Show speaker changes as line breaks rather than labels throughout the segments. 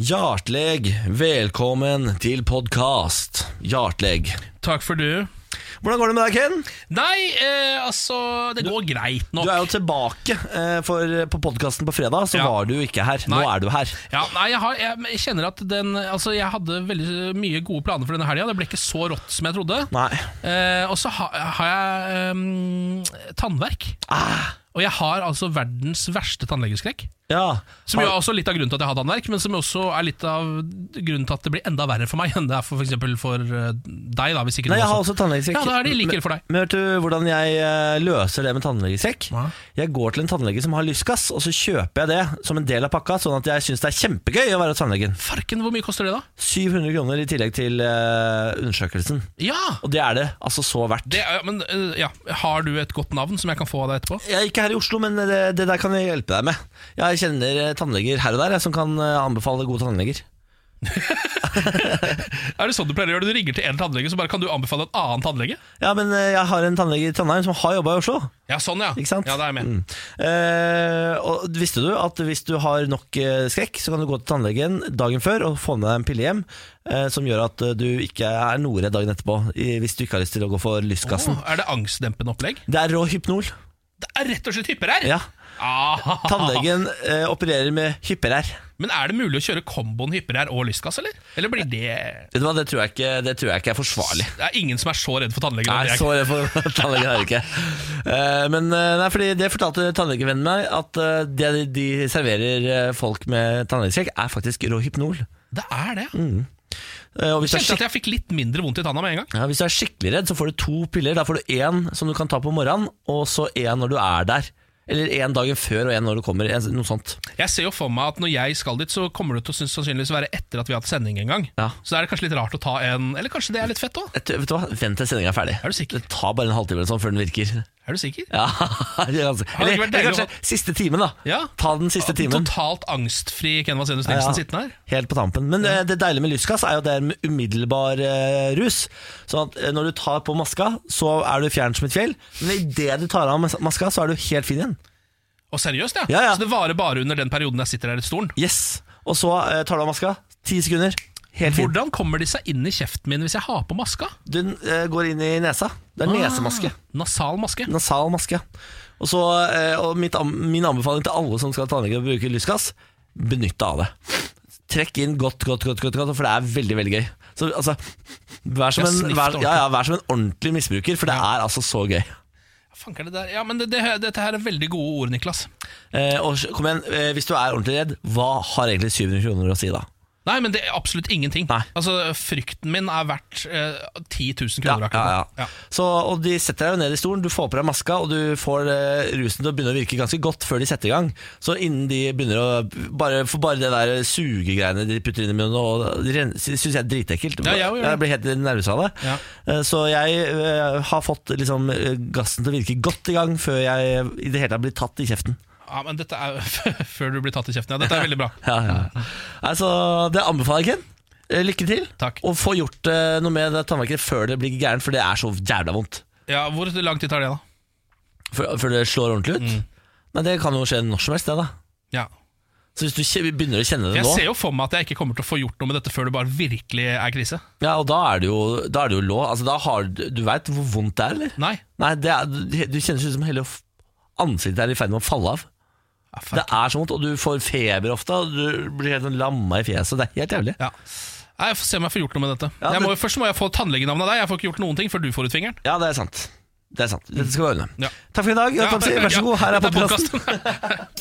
Hjartleg, velkommen til podkast. Hjartleg.
Takk for du.
Hvordan går det med deg, Ken?
Nei, eh, altså Det går greit
Du
nok.
er jo tilbake, eh, for på podkasten på fredag så
Ja.
var du ikke her. Nå
Nei.
er du her.
Ja, nei, jeg, har, jeg, jeg kjenner at den Altså, jeg hadde veldig mye gode planer for denne helga. Det ble ikke så rått som jeg trodde.
Nei.
Eh, og så ha, har jeg eh, tannverk.
Ah,
Og jeg har altså verdens verste tannlegeskrekk.
ja.
Som jo
Har-
er også litt av grunnen til at jeg har tannverk, men som også er litt av grunnen til at det blir enda verre for meg enn det er for f.eks. For, eh, deg, da, hvis ikke
Nei,
du
jeg har
også
også tannlegesekk.
Ja, da er det like ille for deg.
Men, men vet du hvordan jeg eh, løser det med tannlegesekk?
Hva?
Jeg går til en tannlege som har lysgass, og så kjøper jeg det som en del av pakka, sånn at jeg syns det er kjempegøy å være hos tannlegen.
Farken, hvor mye koster det, da?
700 kroner i tillegg til eh, undersøkelsen.
Ja!
Og det er det altså så verdt.
Det er, men eh, ja, Har du et godt navn som jeg kan få av deg etterpå?
Jeg er ikke her i Oslo, men det, det der kan jeg hjelpe deg med. Jeg kjenner eh, tannleger her og der jeg, som kan eh, anbefale gode tannleger.
Er det sånn du pleier å gjøre? Du ringer til en tannlege, så bare kan du anbefale en annen tannlege?
Ja, men eh, jeg har en tannlege i Trondheim som har jobba i Oslo.
Ja, sånn, ja.
Ikke sant?
Ja, det er jeg med.
Mm. Eh, og visste du at hvis du har nok eh, skrekk, så kan du gå til tannlegen dagen før og få med deg en pille hjem eh, som gjør at eh, du ikke er noredd dagen etterpå, i, hvis du ikke har lyst til å gå for lystgassen.
Åh, er det angstdempende opplegg?
Det er rå hypnol.
Det er rett og slett hypper her!
Ja.
Ah,
Tannlegen eh, opererer med hyperær.
men er det mulig å kjøre komboen hypper her og lystgass, eller? Eller blir det
Vet du hva, det tror jeg ikke, det tror jeg ikke er forsvarlig.
Det er ingen som er så redd for tannleger.
Nei,
enn jeg.
så redd for tannlegen er jeg ikke. Eh, Men eh, nei, fordi det fortalte tannlegevennen meg, at eh, det de- de serverer eh, folk med tannlegeskrekk, er faktisk rå hypnol.
Det er det.
Mm, Eh, Og hvis du, er
Kjente
skik-
at jeg fikk litt mindre vondt i tanna med en gang.
ja, hvis du er skikkelig redd, så får du to piller. Da får du én som du kan ta på morgenen, og så én når du er der. Eller én dagen før og én når du kommer. en- Noe sånt.
Jeg ser jo for meg at når jeg skal dit, så kommer det til å synes- sannsynligvis være etter at vi har hatt sending en gang.
Ja.
Så da er det kanskje litt rart å ta en Eller kanskje det er litt fett òg?
Jeg tror- Vet du hva, Vent til sendinga er ferdig.
Er du sikker?
Det tar bare en halvtime eller sånn før den virker.
Er du sikker?
Ja, det er ganske- eller,
vært
eller
deilig å
kanskje siste timen, da.
Ja.
Ta den siste timen.
Totalt angstfri Ken Vasenus Nilsen
Ja, ja.
sittende her.
Helt på tampen. Men eh, det deilige med lystgass er jo at det er en umiddelbar eh, rus. Sånn at eh, når du tar på maska, så er du fjern som et fjell. Men idet du tar av mas- maska, så er du helt fin igjen.
Og seriøst, ja.
Ja, ja.
Så det varer bare under den perioden jeg sitter her i stolen.
Yes. Og så eh, tar du av maska. Ti sekunder. Helt fin.
Hvordan kommer de seg inn i kjeften min hvis jeg har på maska?
Den eh, går inn i nesa. Det er Ah.
Ah.
nesemaske.
Nasal maske.
Nasal maske. Og så, eh, og mitt, am- min anbefaling til alle som skal til tannlege og bruke lystgass, benytt deg av det. Trekk inn godt, godt, godt, godt, godt for det er veldig veldig gøy. Så, altså, vær, som
Ja,
en,
sniff det
vær,
ordentlig.
ja, ja, vær som en ordentlig misbruker, for det er altså så gøy.
Fanker det der? Ja, men det, det, Dette her er veldig gode ord, Niklas.
Eh, og s- kom igjen, eh, Hvis du er ordentlig redd, hva har egentlig 700 kroner å si da?
Nei, men det er absolutt ingenting.
Nei.
Altså, Frykten min er verdt eh, 10 000
Ja,
kroner.
ja,
akkurat
ja.
nå. Ja.
Så, og De setter deg jo ned i stolen, du får på deg maska, og du får eh, rusen til å begynne å virke ganske godt før de setter i gang. Så innen de begynner å Bare, for bare det der sugegreiene de putter inn i munnen, og det ren- sy- syns jeg er dritekkelt.
Ja, jeg også gjør det.
jeg blir helt nervøs av det.
Ja.
Eh, Så jeg eh, har fått liksom, eh, gassen til å virke godt i gang før jeg i det hele tatt blir tatt i kjeften.
Ja, men dette er Før du blir tatt i kjeften. Ja, dette er veldig bra.
Ja, ja. Altså, det anbefaler jeg, Ken. Eh, Lykke til.
Takk.
Og få gjort eh, noe med det tannverket før det blir gærent, for det er så jævla vondt.
Ja, Hvor lang tid tar det, da?
Før, før det slår ordentlig ut.
Mm.
Nei, det kan jo skje når som helst, det, da.
Ja
Så hvis du kje- begynner å kjenne det
Jeg
nå,
ser jo for meg at jeg ikke kommer til å få gjort noe med dette før det bare virkelig er krise.
ja, og da er det jo, da er det jo lå. Altså, da har du Du veit hvor vondt det er, eller?
Nei.
Nei, det er, du, du kjennes ut som hele f- ansiktet er i ferd med å falle av.
Ja, fuck.
Det er så vondt, og du får feber ofte, og du blir helt sånn lamma i fjeset. Det er helt jævlig.
Ja. Nei, Jeg får se om jeg får gjort noe med dette.
Ja,
jeg må,
men-
jo- først må jeg få tannlegenavnet av deg. Jeg får ikke gjort noen ting før du får ut fingeren.
Ja, det er sant. Det er sant. Dette skal vi ordne.
Ja.
Takk for i dag.
Ja,
Topsi. Vær så god, her
ja,
er
dette
podkasten.
podcasten.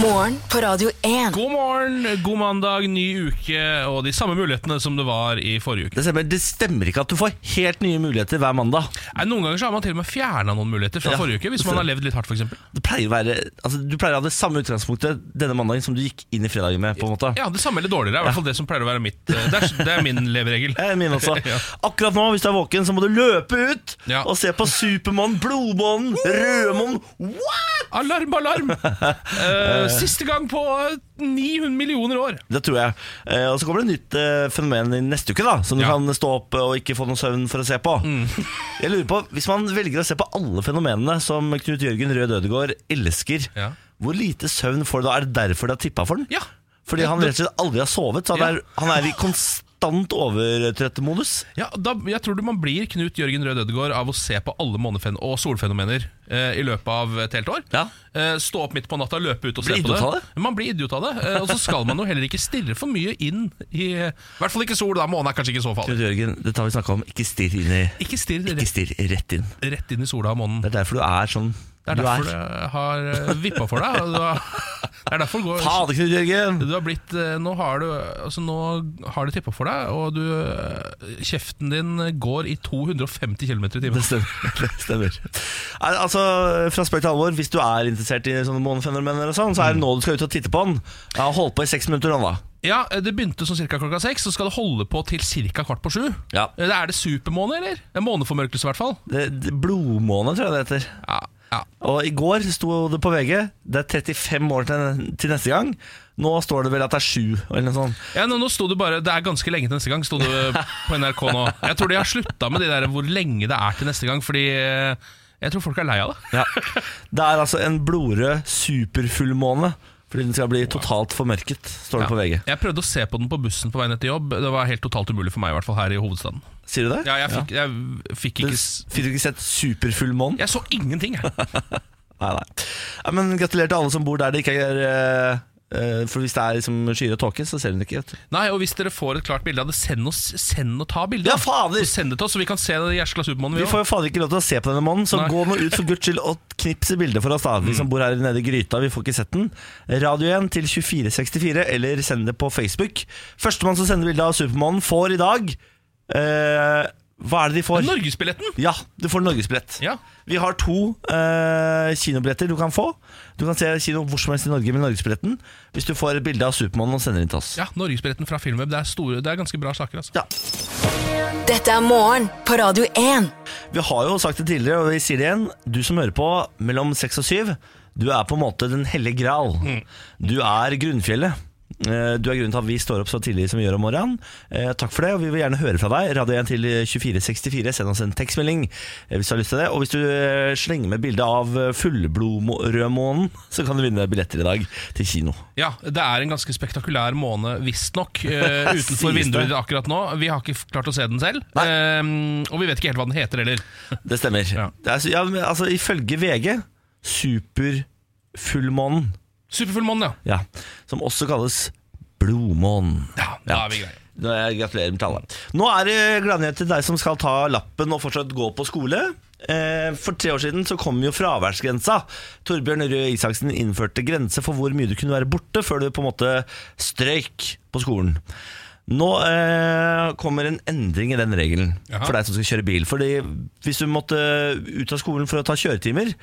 Morgen på Radio 1.
god morgen, god mandag, ny uke og de samme mulighetene som det var i forrige uke.
Det stemmer, det stemmer ikke at du får helt nye muligheter hver mandag.
Nei, noen ganger så har man til og med fjerna noen muligheter fra
Ja,
forrige uke, hvis
det
man har levd litt hardt, f.eks.
Det pleier å være, altså, du pleier å ha det samme utgangspunktet denne mandagen som du gikk inn i fredagen med. på en måte
Ja, det samme eller dårligere. er i hvert fall det som pleier å være mitt. eh, Det er, det er min leveregel.
Eh, Min også.
Ja.
Akkurat nå, hvis du er våken, så må du løpe ut
Ja.
og se på Supermann, Blodmann, Rødmann What?!
Alarm, alarm! Eh, siste gang på 900 millioner år.
Det tror jeg. Eh, og så kommer det et nytt eh, fenomen i neste uke, da som du
Ja. Mm.
kan stå opp og ikke få noe søvn for å se på. jeg lurer på, Hvis man velger å se på alle fenomenene som Knut Jørgen Rød Ødegård elsker,
Ja.
hvor lite søvn får du da? Er det derfor du har tippa for den?
Ja,
Fordi han rett og slett aldri har sovet. Så han er, han er i konstant overtrøttemodus.
Ja, da, jeg tror du man blir Knut Jørgen Rød Ødegård av å se på alle månefen og solfenomener eh, i løpet av et helt år.
Ja.
Eh, stå opp midt på natta, løpe ut og
Bli
se på
idiot
det.
av det?
Man blir idiot av det. Eh, og så skal man jo heller ikke stirre for mye inn i I hvert fall ikke sol, da. Månen er kanskje ikke så farlig.
Knut Jørgen, dette har vi snakka om. Ikke stirr inn i
Ikke stirr
Ikke
rett,
stirr rett inn.
rett inn i sola av månen.
Det er derfor du er sånn
Det er
du
derfor
er.
det har vippa for deg. og du har- Det er derfor går,
Fader, Knut Jørgen!
du har blitt, eh, nå har, du, altså nå har det tippa for deg, og du, eh, kjeften din går i 250 km i timen.
Det stemmer. Det stemmer. Nei, Altså, fra spøk til alvor, hvis du er interessert i sånne månefenomener, og sånn, så er det nå du skal ut og titte på den. Jeg har holdt på i seks minutter nå, da.
Ja, Det begynte sånn ca. klokka seks, så skal det holde på til ca. kvart på sju.
Ja.
Eh, Er det supermåne, eller? Det er Måneformørkelse, i hvert fall.
Det, det, blodmåne, tror jeg det heter.
Ja, ja.
Og i går sto det på VG Det er 35 år til, til neste gang. Nå står det vel at det er sju, eller noe sånt.
Ja, nå, nå sto det bare Det er ganske lenge til neste gang, sto det på NRK nå. Jeg tror de har slutta med de der hvor lenge det er til neste gang, fordi eh, jeg tror folk er lei av det.
Ja. Det er altså en blodrød superfullmåne. Fordi den skal bli totalt formørket, står det på VG.
Jeg prøvde å se på den på bussen på vei ned til jobb. Det var helt totalt umulig for meg, i hvert fall her i hovedstaden.
Sier du det?
Ja, jeg fikk, jeg fikk
Du
ikke s-
s- Fikk du ikke sett superfullmånen?
Jeg så ingenting, jeg.
Nei, nei. Ja, men gratulerer til alle som bor der det ikke er eh, eh, For hvis det er liksom skyer og tåke, så ser hun det ikke. Vet. du.
Nei, og hvis dere får et klart bilde av det, send oss Send og ta bilde.
Ja, fader!
Så Send det til oss, så vi kan se det jæskla supermånen.
Vi får jo fader ikke lov til å se på denne månen, så
Nei. Mm.
gå nå ut for guds skyld og knips i bildet for oss, da. Vi som bor her nede i gryta, vi får ikke sett den. Radio 1 til 2464, eller send det på Facebook. Førstemann som sender bilde av supermånen, får i dag eh, Hva er det de får?
Norgesbilletten!
Ja, du får norgesbillett.
Ja.
Vi har to eh, kinobilletter du kan få. Du kan se kino hvor som helst i Norge med norgesbilletten hvis du får et bilde av Supermannen og sender den til oss.
Ja, Norgesbilletten fra Filmweb. Det er, store, det er ganske bra saker. altså
Ja.
Dette er morgen på Radio 1.
Vi har jo sagt det tidligere, og vi sier det igjen. Du som hører på mellom seks og syv, du er på en måte den hellige gral. Du er grunnfjellet. Eh, Du er grunnen til at vi står opp så tidlig som vi gjør om morgenen. Eh, Takk for det, og vi vil gjerne høre fra deg. Radio 1 til 2464, send oss en tekstmelding eh, hvis du har lyst til det. Og hvis du eh, slenger med bilde av eh, fullblodrødmånen, så kan du vinne billetter i dag til kino.
Ja, det er en ganske spektakulær måne, visstnok, uh, utenfor
Sies det.
vinduer akkurat nå. Vi har ikke klart å se den selv,
Nei.
eh, og vi vet ikke helt hva den heter heller.
Det stemmer.
Ja.
Det er, ja, men, altså, ifølge VG, superfullmånen,
Superfullmånen, ja.
ja, som også kalles blodmånen.
ja. Da er vi greie.
Nå er jeg gratulerer med til alle. Nå er det gladnyhet til deg som skal ta lappen og fortsatt gå på skole. Eh, For tre år siden så kom jo fraværsgrensa. Torbjørn Røe Isaksen innførte grense for hvor mye du kunne være borte før du på en måte strøyk på skolen. Nå eh, kommer en endring i den regelen
Jaha.
for deg som skal kjøre bil. Fordi hvis du måtte ut av skolen for å ta kjøretimer,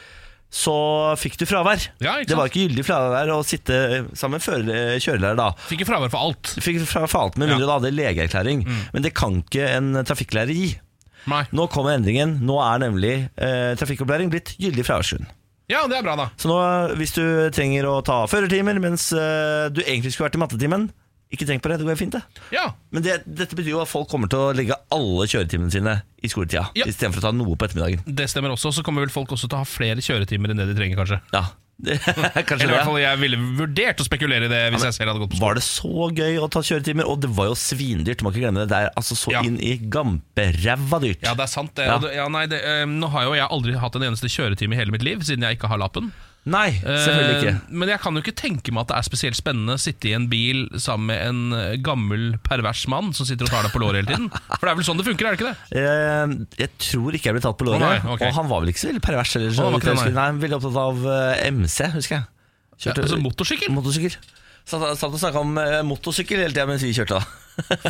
så fikk du fravær.
Ja, ikke
det var
sant?
ikke gyldig fravær å sitte sammen med fører- kjørelærer da.
Fikk jo fravær for alt.
Du fikk fra falt med mindre
Ja. Mm.
du hadde legeerklæring, men det kan ikke en trafikklærer gi.
Nei.
Nå kommer endringen. Nå er nemlig eh, trafikkopplæring blitt gyldig fraværsgrunn.
Ja, det er bra, da.
Så nå, eh, hvis du trenger å ta førertimer mens eh, du egentlig skulle vært i mattetimen, ikke tenk på det, det går helt fint, det.
Ja,
Men det, dette betyr jo at folk kommer til å legge alle kjøretimene sine i skoletida,
Ja.
istedenfor å ta noe på ettermiddagen.
Det stemmer også. Så kommer vel folk også til å ha flere kjøretimer enn det de trenger, kanskje.
Ja, det, kanskje
Eller i
det.
hvert fall jeg ville vurdert å spekulere i det hvis jeg selv hadde gått på
Var det så gøy å ta kjøretimer? Og det var jo svindyrt, du må ikke glemme det. Det er altså så
Ja.
inn i gamperæva dyrt.
Ja, det er sant. Det,
Ja.
Og det, ja, nei, det, eh, nå har jo jeg aldri hatt en eneste kjøretime i hele mitt liv, siden jeg ikke har lappen.
Nei, selvfølgelig ikke.
Eh, Men jeg kan jo ikke tenke meg at det er spesielt spennende å sitte i en bil sammen med en eh, gammel, pervers mann som sitter og tar deg på låret hele tiden. For det er vel sånn det funker, er det ikke det?
Eh, jeg tror ikke jeg ble tatt på
Å,
låret.
nei, ok.
Og han var vel ikke så veldig pervers heller. Så
Han var
vidt jeg
ikke det,
husker. nei, han var Veldig opptatt av eh, MC, husker jeg.
Ja, altså motorsykkel?
motorsykkel. Satt, satt og snakka om eh, motorsykkel hele tida mens vi kjørte. da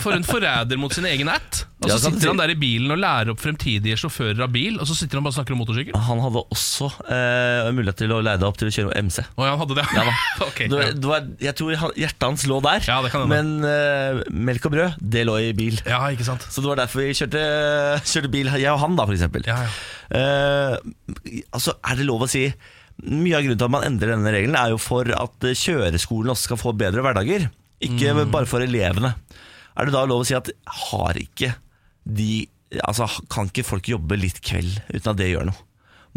For en forræder mot sin egen ætt. Og
Ja,
så
kan du si.
sitter han der i bilen og lærer opp fremtidige sjåfører av bil, og så sitter han bare og snakker om motorsykkel.
Han hadde også eh, mulighet til å leie deg opp til å kjøre MC.
Å ja, han hadde det?
Ja da.
Ok,
det,
ja.
det var, jeg tror han- hjertet hans lå der,
Ja, det kan hende.
men eh, melk og brød, det lå i bil.
ja, ikke sant.
Så det var derfor vi kjørte, kjørte bil, jeg og han da, for eksempel.
Ja, ja.
Eh, altså, er det lov å si Mye av grunnen til at man endrer denne regelen, er jo for at eh, kjøreskolen også skal få bedre hverdager. Ikke
Mm.
bare for elevene. Er det da lov å si at har ikke de Altså, kan ikke folk jobbe litt kveld uten at det gjør noe?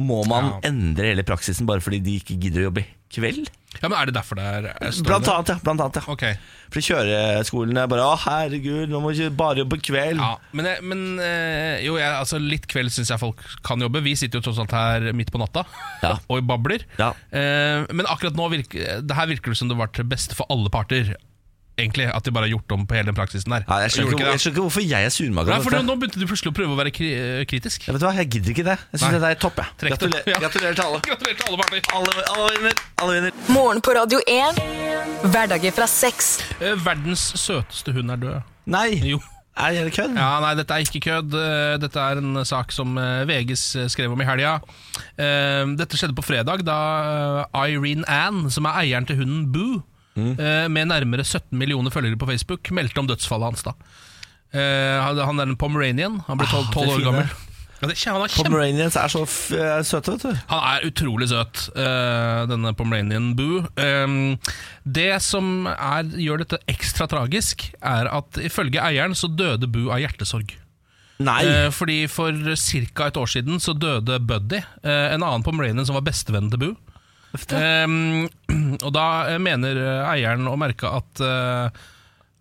Må man
Ja.
endre hele praksisen bare fordi de ikke gidder å jobbe kveld?
Ja, men Er det derfor det er er stående?
Blant annet, ja. Blant annet, ja.
Ok
For kjøreskolen er bare Å, herregud, nå må du ikke bare jobbe kveld.
ja, Men, jeg, men eh, jo, jeg, altså, litt kveld syns jeg folk kan jobbe. Vi sitter jo tross alt her midt på natta
Ja.
og babler.
Ja.
Eh, men akkurat nå virker det her virker det som det var til beste for alle parter. Egentlig At de bare har gjort om på hele den praksisen der.
Nei, jeg, skjønner ikke,
Gjorde ikke
jeg
det?
skjønner ikke hvorfor jeg er surmaga.
Nei,
på
for
dette.
Nå begynte du plutselig å prøve å være kri eh, kritisk.
Ja, vet du hva, Jeg gidder ikke det. Jeg
Nei.
syns dette er topp. jeg.
Trekk det.
Gratulerer,
Ja.
gratulerer til alle.
Gratulerer til alle parter.
Alle, alle vinner. Alle vinner.
Morgen på Radio 1. Hverdager fra seks.
Eh, verdens søteste hund er død.
Nei!
Jo.
Er det kødd?
Ja, nei, dette er ikke kødd. Eh, Dette er en sak som eh, VGs skrev om i helga. Eh, Dette skjedde på fredag, da eh, Irene Ann, som er eieren til hunden Boo, eh, med nærmere 17 millioner følgere på Facebook, meldte om dødsfallet hans. da Eh, Han han er en pomeranian. Han ble
Ah,
12,
det er
år
fine.
gammel. Ja, det, han, er kjempe,
Pomeranians er så f eh, søte, vet du.
han er utrolig søt, eh, denne pomeranian Boo. Eh, Det som er, gjør dette ekstra tragisk, er at ifølge eieren så døde Boo av hjertesorg.
Nei!
Eh, fordi For ca. et år siden så døde Buddy, eh, en annen pomeranian som var bestevennen til Boo. Ehm, og da eh, mener eh, eieren å merke at eh,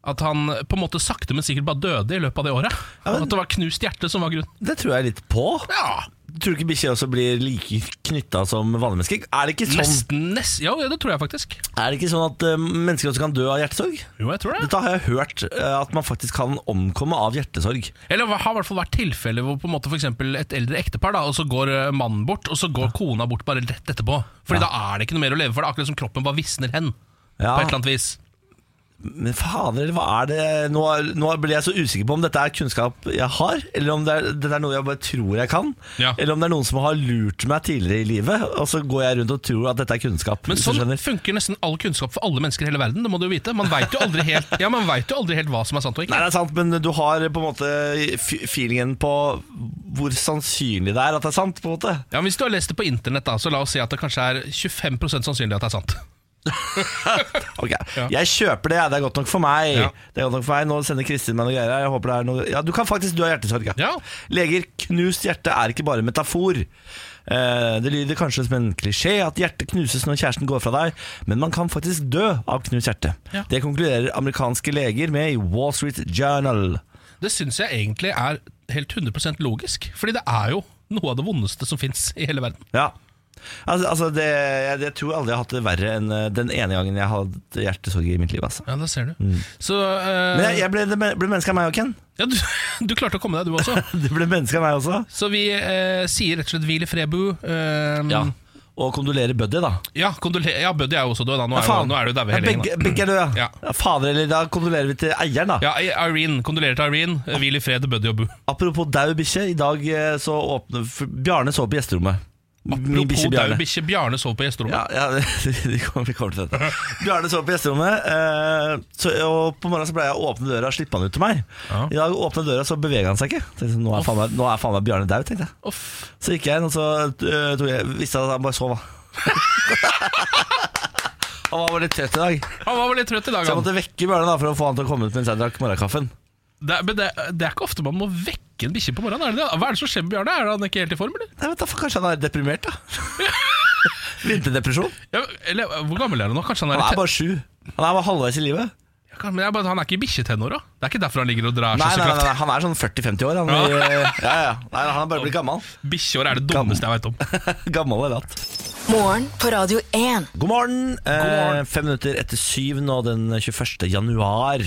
at han på en måte sakte, men sikkert bare døde i løpet av det året.
men-
At det var knust hjerte som var grunnen.
Det tror jeg litt på. Tror du ikke bikkjer også blir like knytta som vanlige mennesker? Er det ikke sånn,
Nesten, nest, ja, det tror jeg faktisk.
er det ikke sånn at eh, mennesker også kan dø av hjertesorg?
Jo, jeg tror det.
Dette har jeg hørt, eh, at man faktisk kan omkomme av hjertesorg.
Eller det har i hvert fall vært tilfeller hvor på en måte for eksempel et eldre ektepar, da, og så går eh, mannen bort, og så går kona bort bare rett etterpå. Fordi da er det ikke noe mer å leve for. Det er akkurat som kroppen bare visner hen.
Ja.
På et eller annet vis
Men fader, hva er det nå, nå ble jeg så usikker på om dette er kunnskap jeg har, eller om det er, dette er noe jeg bare tror jeg kan.
Ja.
Eller om det er noen som har lurt meg tidligere i livet, og så går jeg rundt og tror at dette er kunnskap.
Men
hvis du
sånn
skjønner.
funker nesten all kunnskap for alle mennesker i hele verden. Det må du jo vite. Man veit jo aldri helt Ja, man vet jo aldri helt hva som er sant og
Nei,
ikke.
det er sant, men du har på en måte f- feelingen på hvor sannsynlig det er at det er sant, på en måte.
Ja, men Hvis du har lest det på internett, da, så la oss si at det kanskje er 25 sannsynlig at det er sant.
Ok,
Ja.
Jeg kjøper det, jeg. det er godt nok for meg.
Ja.
Det er godt nok for meg, Nå sender Kristin meg noe greier her. Jeg håper det er noe Ja, du kan faktisk dø av hjertesorg.
Ja.
Leger, knust hjerte er ikke bare metafor. Eh, Det lyder kanskje som en klisjé at hjertet knuses når kjæresten går fra deg, men man kan faktisk dø av knust hjerte.
Ja.
Det konkluderer amerikanske leger med i Wall Street Journal.
Det syns jeg egentlig er helt 100 logisk. Fordi det er jo noe av det vondeste som fins i hele verden.
Ja Altså, altså det, jeg, jeg tror aldri jeg har hatt det verre enn eh, den ene gangen jeg hadde hjertesorg i mitt liv. Altså.
Ja, det ser du. Så eh,
Men jeg, jeg ble, det ble menneske av meg òg, Ken.
ja, du, du klarte å komme deg, du også.
Det ble menneske av meg også.
Så vi eh, sier rett og slett hvil i fred, Bu. Eh,
Ja. Og kondolerer Buddy, da.
ja, kondolerer. Ja, Buddy er jo også død. Da. Nå, er, jo- nå er du daue
Ja,
hele gjengen.
begge, begge er døde, ja.
Ja.
ja. Fader, eller da kondolerer vi til eieren, da.
da. Ja, Irene. Kondolerer til Irene. Eh, Hvil i fred til Buddy og Bu.
Apropos dau bikkje, i dag eh, så åpner f- Bjarne sov på gjesterommet. Min
Apropos
bikkje
dau
Bjarne.
bikkje Bjarne sov på gjesterommet.
Ja, ja vi kommer, vi kommer til dette. Bjarne sov på gjesterommet, eh, så, og på morgenen så ble jeg å åpne døra og slippe han ut til meg.
Ja.
I dag åpnet døra, så beveget han seg ikke. Tenkte, sånn, nå, er faen meg, nå er faen meg Bjarne dau, tenkte jeg.
Uff.
Så gikk jeg inn, og så eh, tok jeg, visste jeg at han bare sov, da. han var bare litt trøtt i dag.
Han var vel litt trøtt i dag.
Så jeg
Han.
måtte vekke Bjarne da, for å få han til å komme ut mens jeg drakk morgenkaffen.
Det, er- men det, det er ikke ofte man må vekke en bikkje på morgenen. Er det det? Hva er det som skjer med Bjarne? Er han ikke helt i form, eller?
Nei, vet du, for Kanskje han er deprimert, da. Vinterdepresjon.
Ja, eller eh, hvor gammel er han nå? Kanskje han er,
Han er
litt
bare sju. Han er bare halvveis i livet.
Ja, kan- Men jeg bare, han er ikke i bikkjetenåra? Det er ikke derfor han ligger og drar
Nei,
seg så
nei, nei,
kraftig?
nei, han er sånn 40-50 år. Han, ja. Ja, ja. Nei, han er bare blitt gammel.
Bikkjeår er det dummeste jeg veit om.
Gammel og latt.
Morgen på Radio 1.
God morgen.
morgen.
Eh, fem minutter etter syv nå den 21. januar.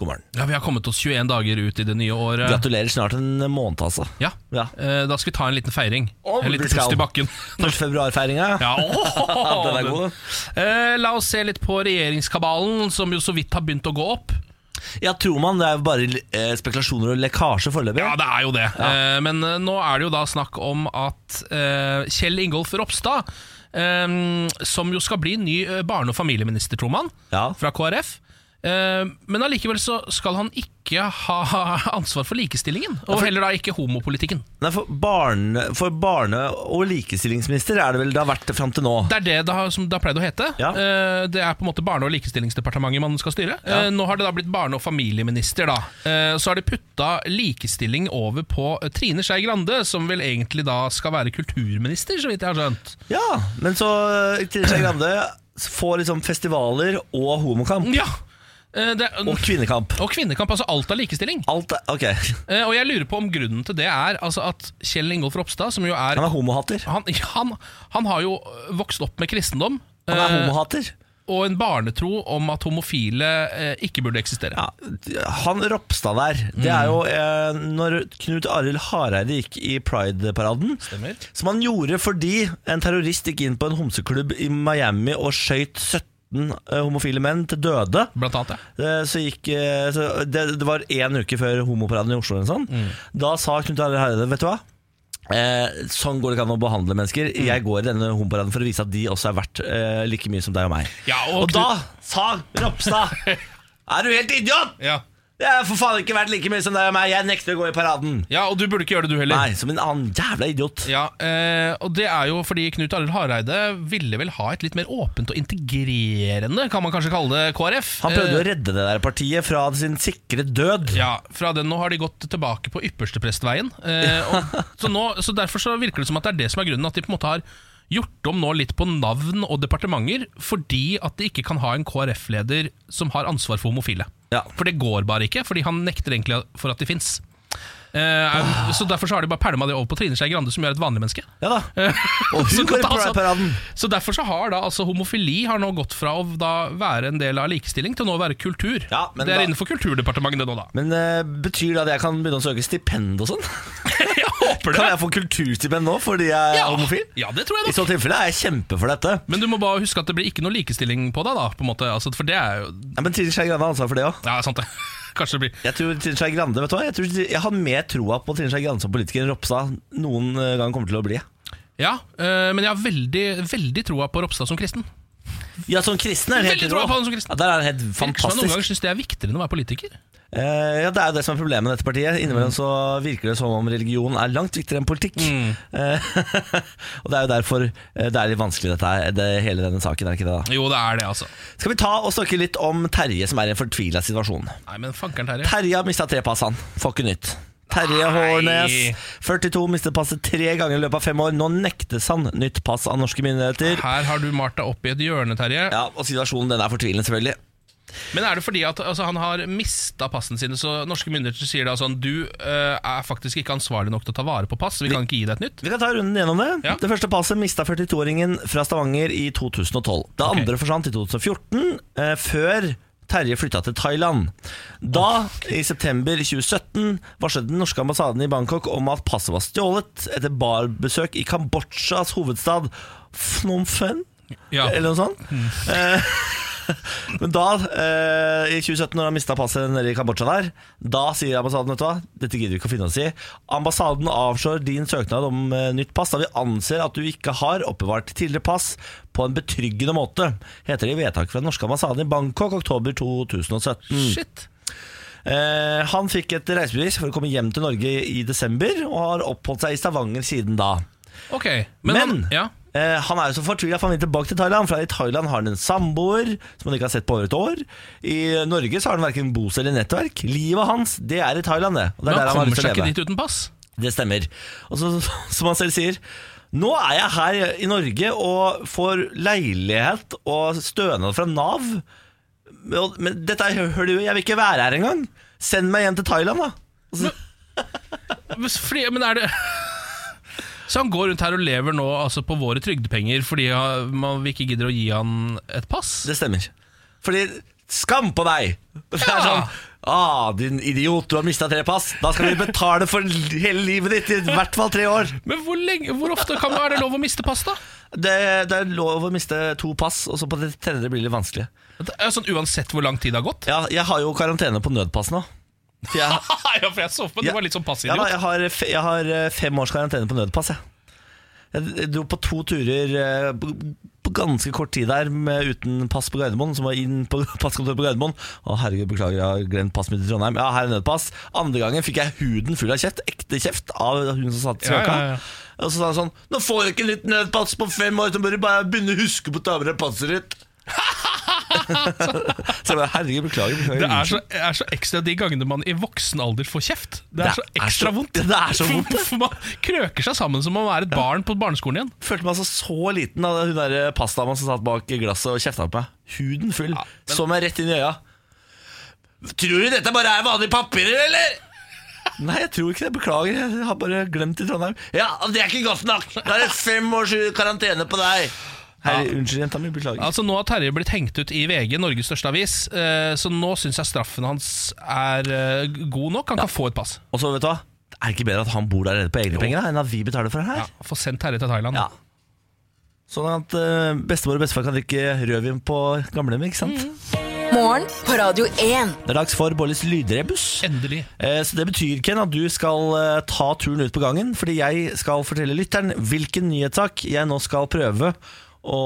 God morgen.
Ja, Vi har kommet oss 21 dager ut i det nye året.
Gratulerer snart en måned, altså.
Ja.
Ja.
Eh, Da skal vi ta en liten feiring.
Å,
En liten
vi skal.
pust i bakken.
1. februar-feiringa.
Ja, åh,
Den er god, den.
Eh, La oss se litt på regjeringskabalen, som jo så vidt har begynt å gå opp.
Ja, tror man. Det er bare eh, spekulasjoner og lekkasje foreløpig.
Ja, det er jo det. Eh, men eh, nå er det jo da snakk om at eh, Kjell Ingolf Ropstad, eh, som jo skal bli ny eh, barne- og familieminister, tror man,
Ja.
fra KrF eh, men allikevel så skal han ikke ha ansvar for likestillingen, og heller da ikke homopolitikken.
Nei, for, barne, for barne- og likestillingsminister er det vel det har vært fram til nå.
Det er det det har, som det har pleid å hete.
Ja.
Eh, Det er på en måte Barne- og likestillingsdepartementet man skal styre. Eh, Nå har det da blitt barne- og familieminister. da. Eh, Så har de putta likestilling over på eh, Trine Skei Grande, som vel egentlig da skal være kulturminister, så vidt jeg har skjønt.
Ja, men så eh, Trine Skei Grande får liksom festivaler og homokamp
Ja! Eh, Det,
og kvinnekamp.
og kvinnekamp. Altså alt er likestilling.
Alt er, ok, Han
Eh, Og jeg lurer på om grunnen til det er altså at Kjell Ingolf Ropstad, som jo er
er homohater.
han, han, han har jo vokst opp med kristendom
Han er
eh,
homohater.
og en barnetro om at homofile eh, ikke burde eksistere.
Ja, han Ropstad der, det er
Mm.
jo eh, når Knut Arild Hareide gikk i Pride-paraden.
Stemmer.
Som han gjorde fordi en terrorist gikk inn på en homseklubb i Miami og skøyt 17 homofile menn til døde.
Blant annet, ja.
Eh, Så gikk, eh, så det, det var én uke før homoparaden i Oslo. eller Sånn.
Mm.
Da sa Knut Arild Hareide Vet du hva? Eh, sånn går det ikke an å behandle mennesker.
Mm.
Jeg går i denne homoparaden for å vise at de også er verdt eh, like mye som deg og meg.
Ja, og
og
Knut-
da sa Ropstad Er du helt idiot?!
ja.
Jeg har for faen ikke vært like mye som deg og meg. Jeg nekter å gå i paraden.
Ja, og du burde ikke gjøre det, du heller.
Nei, som en annen jævla idiot.
Ja, eh, og det er jo fordi Knut Arild Hareide ville vel ha et litt mer åpent og integrerende, kan man kanskje kalle det, KrF.
Han prøvde
Eh,
å redde det der partiet fra sin sikre død.
ja, fra den nå har de gått tilbake på yppersteprestveien. Eh, og, så, nå, så derfor så virker det som at det er det som er grunnen, at de på en måte har gjort om nå litt på navn og departementer, fordi at de ikke kan ha en KrF-leder som har ansvar for homofile.
Ja.
For det går bare ikke, fordi han nekter egentlig for at de fins. Eh,
Ah.
så derfor så har de bare pælma det over på Trine Skei Grande, som gjør et vanlig menneske.
Ja da. Og
Så
hun går i
da, altså-
paraden.
Så derfor så har da altså homofili har nå gått fra å da være en del av likestilling til å nå være kultur.
Ja, men
det er
da-
innenfor Kulturdepartementet det nå, da.
Men eh, betyr det at jeg kan begynne å søke stipend og sånn?
Jeg håper
Kan jeg få kulturstipend nå fordi jeg er homofil?
Ja, det tror
I
jeg
så
nok.
tilfelle er jeg kjempe for dette.
Men du må bare huske at det blir ikke noe likestilling på deg, da. på en måte altså, For det er jo
Ja, men Trine Skei Grande har ansvar for det òg.
Ja, sant det. Kanskje det blir
Jeg tror Trine Skei Grande, vet du hva? Jeg, tror, jeg har mer troa på Trine Skei Grande som politiker enn Ropstad noen eh, gang kommer til å bli.
Ja, eh, men jeg har veldig, veldig troa på Ropstad som kristen.
Ja, som kristen er hun helt
Veldig troa
rå.
på henne som kristen.
Ja, der er hun helt
Virker som jeg noen
fantastisk.
ganger syns det er viktigere enn å være politiker.
Eh, ja, Det er jo det som er problemet med dette partiet. Innimellom så virker det som om religion er langt viktigere enn politikk.
Mm.
Eh, og det er jo derfor eh, det er litt vanskelig, dette her. Det, hele denne saken, er det ikke det?
Jo, det er det, altså.
da? Skal vi ta og snakke litt om Terje, som er i en fortvila situasjon.
Nei, men fankeren Terje.
Terje har mista tre pass, han. Får ikke nytt. Terje Hårnes, 42, mistet passet tre ganger i løpet av fem år. Nå nektes han nytt pass av norske myndigheter.
Her har du malt deg opp i et hjørne, Terje.
Ja, Og situasjonen den er fortvilende, selvfølgelig.
Men er det fordi at altså, han har mista passene sine, så norske myndigheter sier da sånn Du eh, er faktisk ikke ansvarlig nok til å ta vare på pass, så vi kan ikke gi deg et nytt.
Vi kan ta runden gjennom det.
Ja.
Det første passet mista 42-åringen fra Stavanger i 2012. Det
Ok.
andre forsvant i 2014, eh, før Terje flytta til Thailand. Da, i september 2017, varslet den norske ambassaden i Bangkok om at passet var stjålet etter barbesøk i Kambodsjas hovedstad Phnom Phen,
Ja.
eller noe sånt. Eh, Men da, eh, i 2017, når han mista passet nede i Kambodsja der, da sier ambassaden vet du hva, dette gidder vi ikke å finne oss i. Ambassaden avslår din søknad om eh, nytt pass, da vi anser at du ikke har oppbevart tidligere pass på en betryggende måte, heter det i vedtaket fra den norske ambassaden i Bangkok oktober 2017.
Mm. Shit.
Eh, han fikk et reisebevis for å komme hjem til Norge i desember, og har oppholdt seg i Stavanger siden da.
Ok. Men,
Men,
han- ja.
eh, han er jo så fortvila for han vil tilbake til Thailand. For i Thailand har han en samboer som han ikke har sett på over et år. I Norge så har han verken bos eller nettverk. Livet hans, det er i Thailand, det. Og det
Men
er der han har
han kommer
lyst til
seg
å
ikke
leve.
dit uten pass.
Det stemmer. Og så, som han selv sier nå er jeg her i Norge og får leilighet og stønad fra Nav. Men men dette er- hører du, jeg vil ikke være her engang. Send meg hjem til Thailand, da.
Men s- Fordi, men er det Så han går rundt her og lever nå altså, på våre trygdepenger fordi ja, man, vi ikke gidder å gi han et pass?
Det stemmer. Fordi skam på deg! Det er
Ja.
sånn Ah, din idiot, du har mista tre pass. Da skal vi betale for hele livet ditt i hvert fall tre år.
Men hvor, lenge, hvor ofte kan, er det lov å miste pass, da?
Det, det er lov å miste to pass, og så på det tredje blir det litt vanskelig.
Det er Sånn Uansett hvor lang tid det har gått?
Ja, jeg har jo karantene på nødpass nå. For jeg,
ja, for jeg så for meg
Ja.
du var litt
ja,
sånn
da,
passidiot.
jeg, har, fe- jeg har eh, fem års karantene på nødpass, jeg. Jeg dro på to turer eh, på på ganske kort tid der med, uten pass på Gardermoen, som var inn på passkontoret på Gardermoen. Å herregud, beklager, jeg har glemt passet mitt i Trondheim. Ja, her er nødpass. Andre gangen fikk jeg huden full av kjeft, ekte kjeft, av hun som satt i
Ja, ja,
skranka.
ja.
Og så sa han sånn Nå får du ikke nytt nødpass på fem år, så bør du bare begynne å huske på å ta med deg passet ditt. Så jeg bare, herregud, beklager. beklager
Det er så, er så ekstra de gangene man i voksen alder får kjeft. Det er så ekstra vondt.
Det er så vondt.
For man krøker seg sammen som om man er et barn på barneskolen igjen.
Følte meg altså så liten da hun der pastadama som satt bak glasset og kjefta på meg. Huden full. Så meg rett inn i øya. Tror du dette bare er vanlige papirer, eller? Nei, jeg tror ikke det. Beklager, jeg har bare glemt i Trondheim. Ja, det er ikke godt nok! Da er det fem års karantene på deg! Herre, Unnskyld, jenta mi. Beklager.
Altså Nå har Terje blitt hengt ut i VG, Norges største avis, eh, så nå syns jeg straffen hans er eh, god nok. Han kan få et pass.
Og så, vet du hva? Det er ikke bedre at han bor der nede på egne penger da, enn at vi betaler for det her.
Ja, få sendt Terje til Thailand.
Ja. Sånn at eh, bestemor og bestefar kan drikke rødvin på gamlehjemmet, ikke sant?
Morgen på Radio 1.
Det er dags for Bollys lydrebus.
Endelig.
Eh, Så det betyr, Ken, at du skal eh, ta turen ut på gangen, fordi jeg skal fortelle lytteren hvilken nyhetssak jeg nå skal prøve å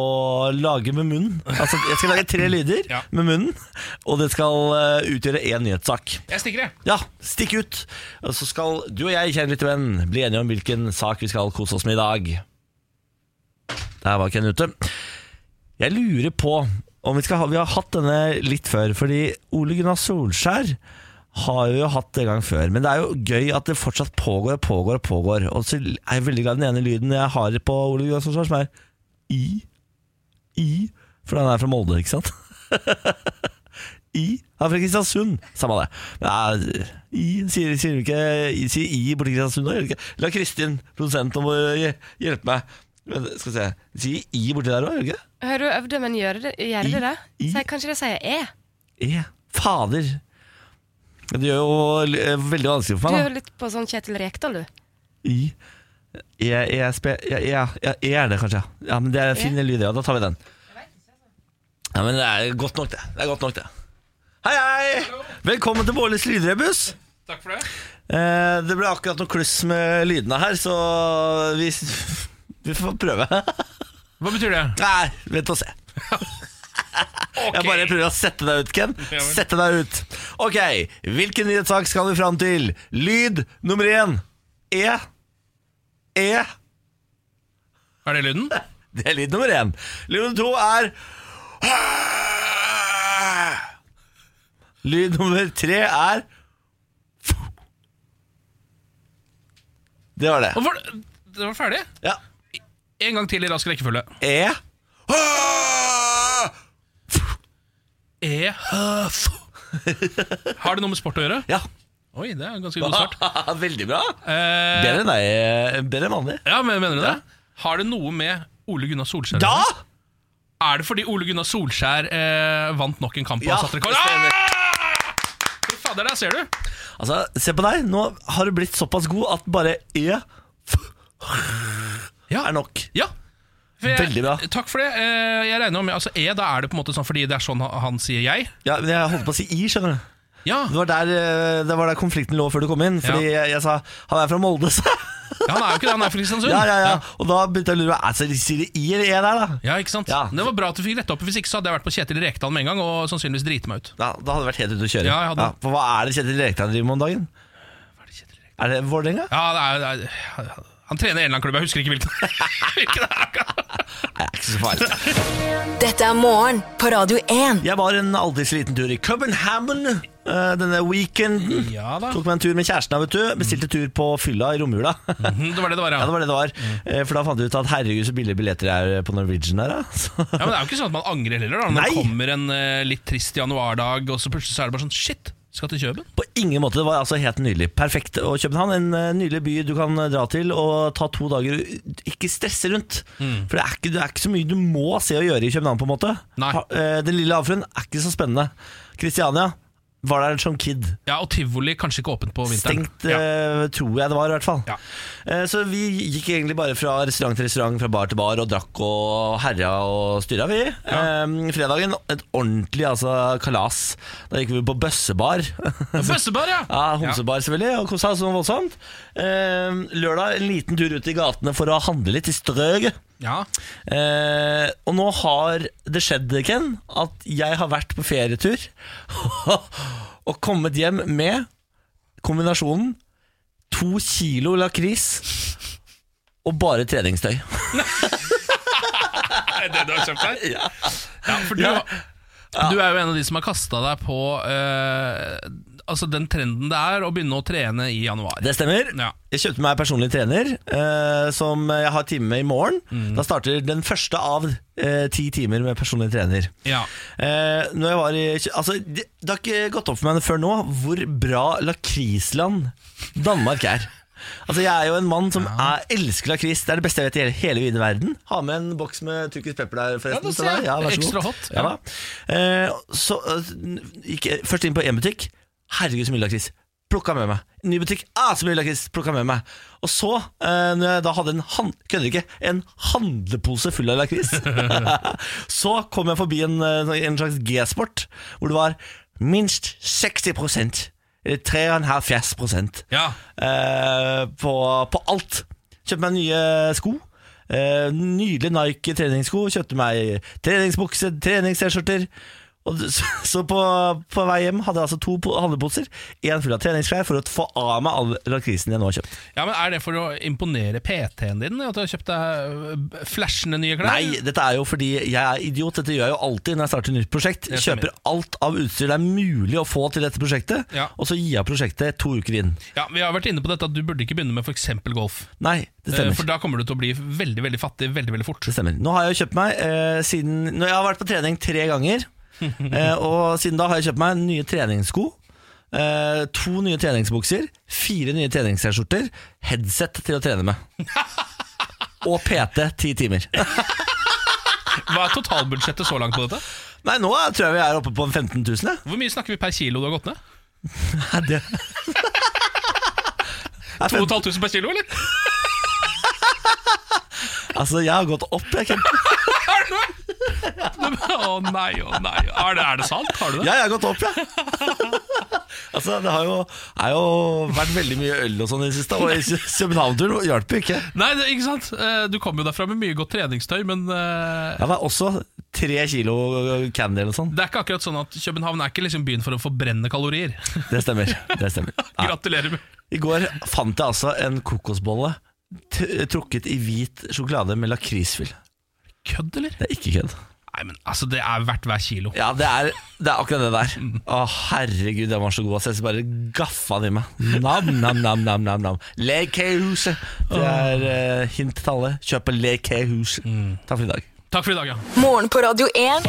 lage med munnen. Altså, jeg skal lage tre lyder
Ja.
med munnen, og det skal eh, utgjøre én nyhetssak.
Jeg stikker, jeg.
Ja, stikk ut! Og så skal du og jeg, kjære lille venn, bli enige om hvilken sak vi skal kose oss med i dag. Der var Ken ute. Jeg lurer på om vi skal ha Vi har hatt denne litt før, fordi Ole Gunnar Solskjær har vi jo hatt det en gang før. Men det er jo gøy at det fortsatt pågår og pågår og pågår. Og så er jeg veldig glad i den ene lyden jeg har på Ole Gunnar Solskjær, som er I. I. For han er fra Molde, ikke sant? I. Han er fra Kristiansund. Samme det. Men det er- I sier, sier du ikke I- Sier I borti Kristiansund? da, gjør du ikke? La Kristin, produsenten, om å hj- hjelpe meg. Men, skal vi se Sier I borti der òg, gjør du ikke?
Hører du øvde, men gjør det, gjør det det?
I-
Så jeg- kanskje det sier jeg.
E. Fader. Men Det gjør jo l- eh, veldig vanskelig for
Du
meg, da.
er jo litt på sånn Kjetil Rekdal, du.
I. E, e, spe, ja, ja, ja, e er det kanskje. ja. Ja, men Det er en fin lyd, ja. Da tar vi den. Ja, men Det er godt nok, det. Det er godt nok, det. Hei, hei! Velkommen til Bårlis lydrebuss.
Takk for det.
Eh, Det ble akkurat noe kluss med lydene her, så vi, vi får prøve.
Hva betyr det?
Nei, vent og se. Jeg bare prøver å sette deg ut, Ken.
Ja vel.
Sette deg ut. Ok, hvilken nyhetssak skal vi fram til? Lyd nummer én. E. E.
Er det lyden?
Det er lyd nummer én. Lyd nummer to er Lyd nummer tre er Det var det.
Og var det, det var ferdig?
Ja.
En gang til i rask rekkefølge.
E.
E Har det noe med sport å gjøre?
Ja.
Oi, det er en ganske god start.
Veldig bra.
Eh,
Bedre enn deg. Bedre enn vanlig.
ja, men mener du det? Har det noe med Ole Gunnar Solskjær å
Da!
gjøre? Er det fordi Ole Gunnar Solskjær eh, vant nok en kamp? og
Ja,
satte rekord?
det stemmer.
Ah! Fy Fader, der ser du!
Altså, se på deg. Nå har du blitt såpass god at bare E
Ja.
er nok.
Ja. For jeg-
Veldig bra.
Takk for det. Eh, jeg regner med altså, E, da er det på en måte sånn fordi det er sånn han, han sier jeg.
Ja, men jeg holdt på å si I, skjønner du.
Ja,
Det var der, eh, det var der konflikten lå før du kom inn. Fordi jeg, jeg sa 'han er fra Molde', sa jeg.
ja han er jo ikke det, han er fra Kristiansund.
Ja, ja, ja. Og da begynte jeg å lure. Altså, de sier det I eller E der, da?
Ja, ikke sant?
Ja.
Det var bra at du fikk retta opp, hvis ikke så hadde jeg vært på Kjetil Rekdal med en gang og sannsynligvis driti meg ut.
Ja, da hadde det vært helt ute å kjøre.
Ja, jeg hadde-
for hva er det Kjetil Rekdal driver med om dagen? Er det Vålerenga?
Ja, det er, det er, Han trener en eller annen klubb, jeg husker ikke hvilken. hvilken det er.
Nei, ikke så farlig.
Dette er morgen på Radio 1.
Jeg var en aldri så liten tur i Copenhagen eh, denne weekenden.
Ja da.
Tok meg en tur med kjæresten, vet du. Bestilte tur på fylla i romjula. ja,
Mhm, Det var det det var, ja.
det var det det var.
Mm.
Eh, For da fant vi ut at herregud, så billige billetter det er eh, på Norwegian her, da. Så-
Ja, men Det er jo ikke sånn at man angrer heller. da Når
Nei.
det kommer en eh, litt trist januardag, og så plutselig så er det bare sånn Shit, skal til Kjøben?
På ingen måte. Det var altså helt nydelig. Perfekt. Og København, en eh, nydelig by du kan eh, dra til og ta to dager. Ikke stresse rundt.
Mm.
For det er, ikke, det er ikke så mye du må se og gjøre i København, på en måte.
Nei.
Ha- eh, Den lille havfruen er ikke så spennende. Kristiania var der som kid.
Ja, Og tivoli kanskje ikke åpent på vinteren.
Stengt, eh, tror jeg det var i hvert fall.
Ja.
Eh, så vi gikk egentlig bare fra restaurant til restaurant, fra bar til bar, og drakk og herja og styra, vi. Eh, fredagen, et ordentlig altså, kalas. Da gikk vi på bøssebar.
Ja. Bøssebar, ja!
ja, homsebar selvfølgelig, og kosa oss noe voldsomt. Eh, lørdag, en liten tur ut i gatene for å handle litt i strøget.
ja.
Eh, og nå har det skjedd, Ken, at jeg har vært på ferietur og kommet hjem med kombinasjonen to kilo lakris og bare treningstøy.
Er det det du har kjøpt deg? Ja, for du,
Ja.
Du er jo en av de som har kasta deg på eh, altså den trenden det er å begynne å trene i januar.
Det stemmer.
Ja.
Jeg kjøpte meg personlig trener, eh, som jeg har time med i morgen. Da starter den første av eh, ti timer med personlig trener.
Ja.
Eh, når jeg var i, altså, det, det har ikke gått opp for meg før nå hvor bra lakrisland Danmark er. Altså Jeg er jo en mann som er, elsker lakris. Det er det beste jeg vet i hele, hele vide verden. Ha med en boks med tyrkisk pepper der, forresten.
Ja, da
til deg. vær så god.
ser jeg. Ekstra hot.
Ja, da. Eh, så eh, gikk jeg først inn på en butikk. Herregud, så mye lakris. Plukka med meg. Ny butikk. Ah, så mye lakris. Plukka med meg. Og så, eh, når jeg da hadde en han- kødder ikke, en handlepose full av lakris, så kom jeg forbi en, eh, en slags G-sport, hvor det var minst 60 eller 3,5
Ja.
eh, på, på alt. Kjøpte meg nye sko. Eh, nydelige Nike treningssko. Kjøpte meg treningsbukse, treningst-skjorter. Og d- så, så på, på vei hjem hadde jeg altså to po- handleposer. Én full av treningsklær for å få av meg all lakrisen jeg nå har kjøpt.
ja, men Er det for å imponere PT-en din at du har kjøpt deg eh, flashende nye klær?
Nei, dette er jo fordi jeg er idiot. Dette gjør jeg jo alltid når jeg starter et nytt prosjekt.
Det stemmer.
Kjøper alt av utstyr det er mulig å få til dette prosjektet,
Ja.
og så gir jeg prosjektet to uker inn.
Ja, Vi har vært inne på dette at du burde ikke begynne med f.eks. golf.
Nei, det
Eh,
stemmer. Ah.
For da kommer du til å bli veldig veldig fattig veldig veldig fort.
Det stemmer. Nå har jeg jo kjøpt meg eh, siden Nå jeg har vært på trening tre ganger, eh, og siden da har jeg kjøpt meg nye treningssko. Eh, to nye treningsbukser, fire nye treningsskjorter, headset til å trene med. Og PT ti timer.
Hva er totalbudsjettet så langt på dette?
Nei, nå er- tror jeg vi er oppe på en 15 000, jeg.
Hvor mye snakker vi per kilo du har gått ned?
Nei, det- Nei, 15
2500 per kilo, eller?
altså, jeg har gått opp, jeg. Ken.
Er det noe? Å nei, å nei. Er det, er det sant? Har du det?
Ja, jeg har gått opp, jeg. Altså, det har jo, er jo vært veldig mye øl og sånn i det siste, og i København-turen hjalp jo ikke.
Nei, det, ikke sant? Eh, Du kom jo derfra med mye godt treningstøy, men eh,
Ja, det er også tre kilo candy eller sånn.
det er ikke akkurat sånn at København er ikke liksom byen for å forbrenne kalorier.
Det stemmer. det stemmer ja.
Gratulerer med
I går fant jeg altså en kokosbolle t- trukket i hvit sjokolade med lakrisfyll.
Kødd, eller?
Det er ikke kødd.
Nei, men altså, det er verdt hver kilo.
Ja, det er, det er akkurat det der. Å, herregud, den var så god. ass. Jeg bare gaffa den i meg. Nam, nam, nam, nam, nam, nam. Lekehuset. Det er eh, hint til alle. Kjøp på Lekehuset. Takk for i dag.
Takk for i dag, ja.
Morgen på Radio 1.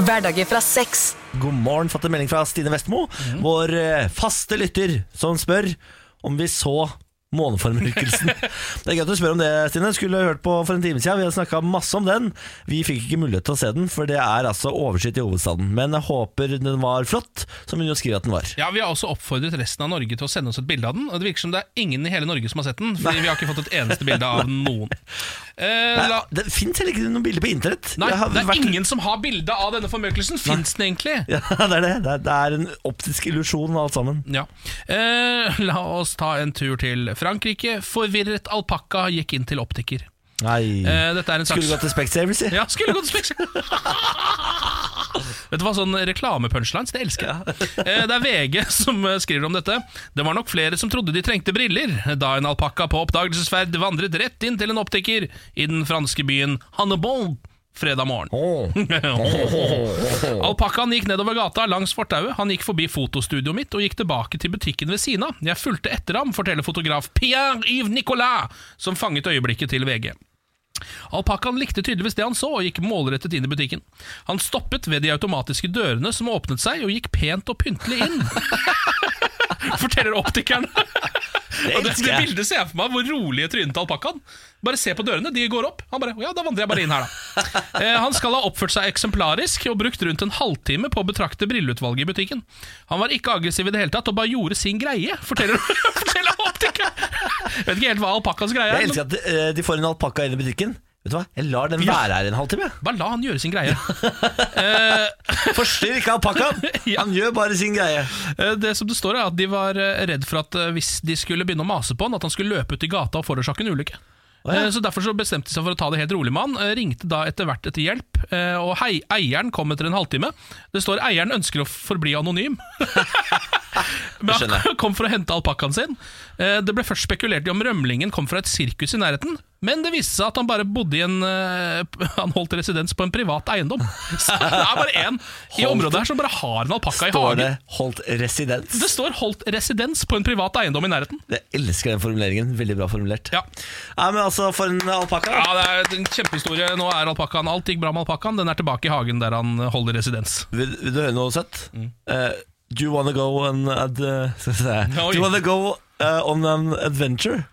Hverdager fra seks.
God morgen, fått en melding fra Stine Vestmo,
Mhm.
vår eh, faste lytter, som spør om vi så måneformørkelsen. det er gøy at du spør om det, Stine. Skulle hørt på for en time siden. Vi har snakka masse om den. Vi fikk ikke mulighet til å se den, for det er altså overskyet i hovedstaden. Men jeg håper den var flott, som hun jo skriver at den var.
Ja, Vi har også oppfordret resten av Norge til å sende oss et bilde av den. Og Det virker som det er ingen i hele Norge som har sett den, Fordi vi har ikke fått et eneste bilde av noen. Eh,
Nei,
la,
Det fins heller ikke noen bilder på internett.
nei,
Jeg har
det er
vært-
ingen som har bilde av denne formørkelsen. Fins den egentlig?
Ja, det er det. Det er, det er en optisk illusjon, alt sammen.
Ja. Eh, la oss ta en tur til Frankrike. Forvirret alpakka gikk inn til optiker.
Nei.
Eh, dette er en
Skulle
saks...
gått til Specsavers, si.
Ja, skulle gått spekser. Vet du hva, sånn reklame-punchlines, det elsker jeg. Eh, Det er VG som eh, skriver om dette. Det var nok flere som trodde de trengte briller, da en alpakka på oppdagelsesferd vandret rett inn til en optiker i den franske byen Hannebol fredag morgen.
Åh.
Alpakkaen gikk nedover gata langs fortauet. Han gikk forbi fotostudioet mitt og gikk tilbake til butikken ved siden av. Jeg fulgte etter ham, forteller fotograf Pierre-Yves Nicolas, som fanget øyeblikket til VG. Alpakkaen likte tydeligvis det han så, og gikk målrettet inn i butikken. Han stoppet ved de automatiske dørene som åpnet seg, og gikk pent og pyntelig inn. Forteller optikeren.
Det
Og det,
elsker
det
jeg.
bildet ser jeg for meg hvor rolige trynet til alpakkaen. Bare se på dørene, de går opp. Han bare, ja, da vandrer jeg bare inn her, da. Eh, han skal ha oppført seg eksemplarisk og brukt rundt en halvtime på å betrakte brilleutvalget i butikken. Han var ikke aggressiv i det hele tatt, og bare gjorde sin greie, forteller, forteller optikeren. Jeg vet ikke helt hva alpakkas greie
Jeg
er,
elsker
men
at eh, de får en alpakka inn i butikken. Vet du hva? Jeg lar den
Ja.
være her en halvtime. jeg.
bare la han gjøre sin greie.
Forstyrr ikke alpakkaen!
Ja.
Han gjør bare sin greie.
Eh, Det som det står er at De var eh, redd for at eh, hvis de skulle begynne å mase på han, at han skulle løpe ut i gata og forårsake en ulykke.
ja.
Eh, Så Derfor så bestemte de seg for å ta det helt rolig med han. eh, Ringte da etter hvert etter hjelp, eh, og hei, eieren kom etter en halvtime. Det står eieren ønsker å forbli anonym.
det
Men
skjønner jeg.
han kom for å hente alpakkaen sin. Eh, Det ble først spekulert i om rømlingen kom fra et sirkus i nærheten, men det viste seg at han bare bodde i en eh, Han holdt residens på en privat eiendom. Så det er bare én i
Holdt-
området her som bare har en alpakka i
Står det
hagen.
'holdt residens'?
Det står 'holdt residens' på en privat eiendom i nærheten.
Jeg elsker den formuleringen. Veldig bra formulert.
Ja.
Nei, men altså, for en alpakka.
Ja, det er en kjempehistorie. Nå er alpakkaen Alt gikk bra med alpakkaen. Den er tilbake i hagen der han holder residens. Oh,
Vil, vil du høre noe søtt?
Mm.
Eh, do you wanna go on ad, eh, skal vi se.
Oi.
Do you wanna go eh, on an adventure?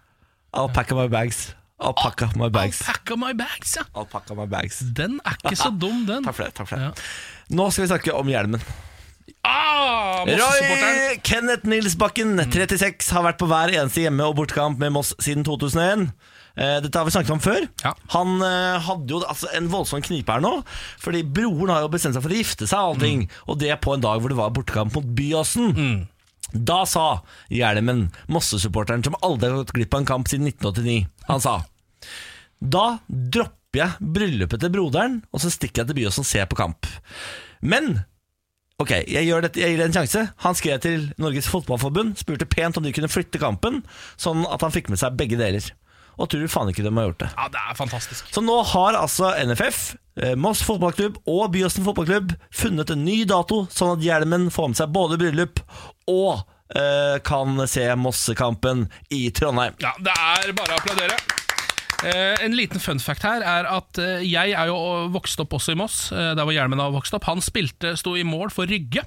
I'll pack up my bags. I'll pack up my bags.
Alpaca my bags, ja.
I'll pack up my bags.
Den er ikke så dum, den.
Takk for det. takk for det Nå skal vi snakke om hjelmen.
Ah, Mosse-supporteren.
Roy Kenneth Nilsbakken, 36, har vært på hver eneste hjemme- og bortekamp med Moss siden 2001. Eh, Dette har vi snakket om før.
Ja.
Han eh, hadde jo altså, en voldsom knipe her nå, fordi broren har jo bestemt seg for å gifte seg, og allting, og det på en dag hvor det var bortekamp mot Byåsen. Da sa Hjelmen, Mosse-supporteren som aldri har gått glipp av en kamp siden 1989, han sa Da dropper jeg bryllupet til broderen, og så stikker jeg til Byåsen og ser på kamp. Men Ok, jeg, gjør dette, jeg gir det en sjanse. Han skrev til Norges Fotballforbund, spurte pent om de kunne flytte kampen, sånn at han fikk med seg begge deler. Og tror faen ikke de har gjort det.
Ja, det er fantastisk.
Så nå har altså NFF, eh, Moss fotballklubb og Byåsen fotballklubb funnet en ny dato, sånn at hjelmen får med seg både bryllup og eh, kan se Mossekampen i Trondheim.
Ja, det er bare å applaudere. Eh, en liten fun fact her er at eh, jeg er jo vokst opp også i Moss, eh, der hvor Hjelmen har vokst opp. Han spilte, sto i mål for Rygge.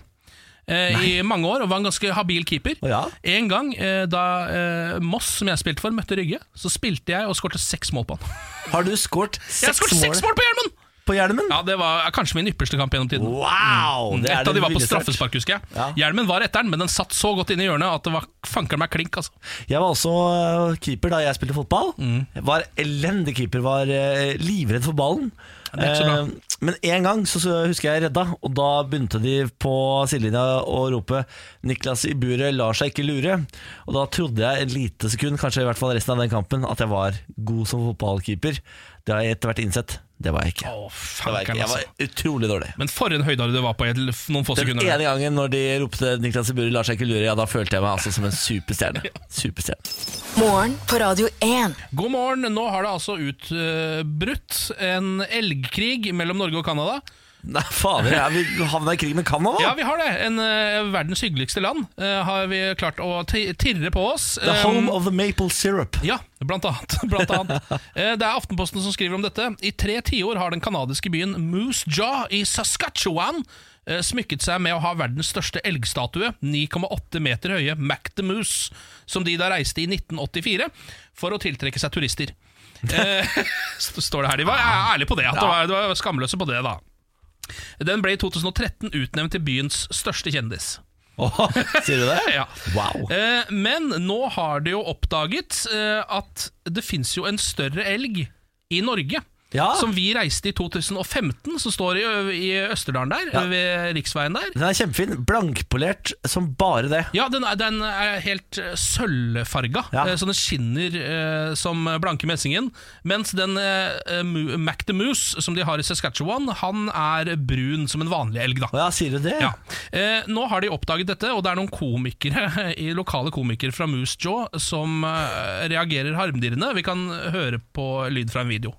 eh, I mange år, og var en ganske habil keeper.
Å ja.
En gang eh, da eh, Moss, som jeg spilte for, møtte Rygge, så spilte jeg og skårte seks mål på han.
Har du skåret
Jeg har
seks
skåret
mål
seks mål på Hjelmen!
på hjelmen?
Ja, Det var eh, kanskje min ypperste kamp gjennom tiden.
Wow! Det er
Et av
det
de var på
villeste jeg har hørt.
straffespark, husker jeg.
Ja.
Hjelmen var etter den, men den satt så godt inne i hjørnet at det var fanker meg klink. altså
Jeg var også øh, keeper da jeg spilte fotball.
Mm.
Jeg var elendig keeper, var øh, livredd for ballen.
det er ikke så bra.
Eh, Men en gang så, så husker jeg redda, og da begynte de på sidelinja å rope 'Niklas i buret lar seg ikke lure'. Og da trodde jeg et lite sekund, kanskje i hvert fall resten av den kampen, at jeg var god som fotballkeeper. Det har jeg etter hvert innsett. Det var jeg ikke. Det
Å,
var jeg,
fankeren,
ikke. jeg
altså.
var utrolig dårlig.
Men for en høydare du var på i et- noen få
Den
sekunder.
ene gangen når de ropte 'Niklas i buret lar seg ikke lure', ja, da følte jeg meg altså som en superstjerne. Superstjerne.
Morgen på Radio 1.
God morgen. Nå har det altså utbrutt en elgkrig mellom Norge og Canada.
Nei, fader, ja, vi havna i krig med Canada.
Ja, vi har det. En eh, verdens hyggeligste land eh, har vi klart å ti- tirre på oss.
The
Eh,
home of the maple syrup.
ja, blant annet. Blant annet. Eh, Det er Aftenposten som skriver om dette. I tre tiår har den kanadiske byen Moose Jaw i Saskatchewan eh, smykket seg med å ha verdens største elgstatue, 9,8 meter høye Mac the Moose, som de da reiste i 1984 for å tiltrekke seg turister. Eh, Står det her. De var ærlige på det. At det var, de var skamløse på det, da. Den ble i 2013 utnevnt til byens største kjendis.
Åh, sier du det?
Ja.
Wow.
Eh, men nå har de jo oppdaget eh, at det fins jo en større elg i Norge.
Ja.
Som vi reiste i 2015, som står i, Ø- i Østerdalen der,
Ja.
ved riksveien der.
Den er kjempefin. Blankpolert som bare det.
Ja, den er, den er helt eh, sølvfarga,
Ja.
eh, så den skinner eh, som blanke messingen. Mens den eh, eh, Mu- Mac the Moose, som de har i Saskatchewan, han er brun som en vanlig elg, da.
Å ja, sier du det?
Ja. Eh, nå har de oppdaget dette, og det er noen komikere i lokale komikere fra Moose Jaw som eh, reagerer harmdirrende. Vi kan høre på lyd fra en video.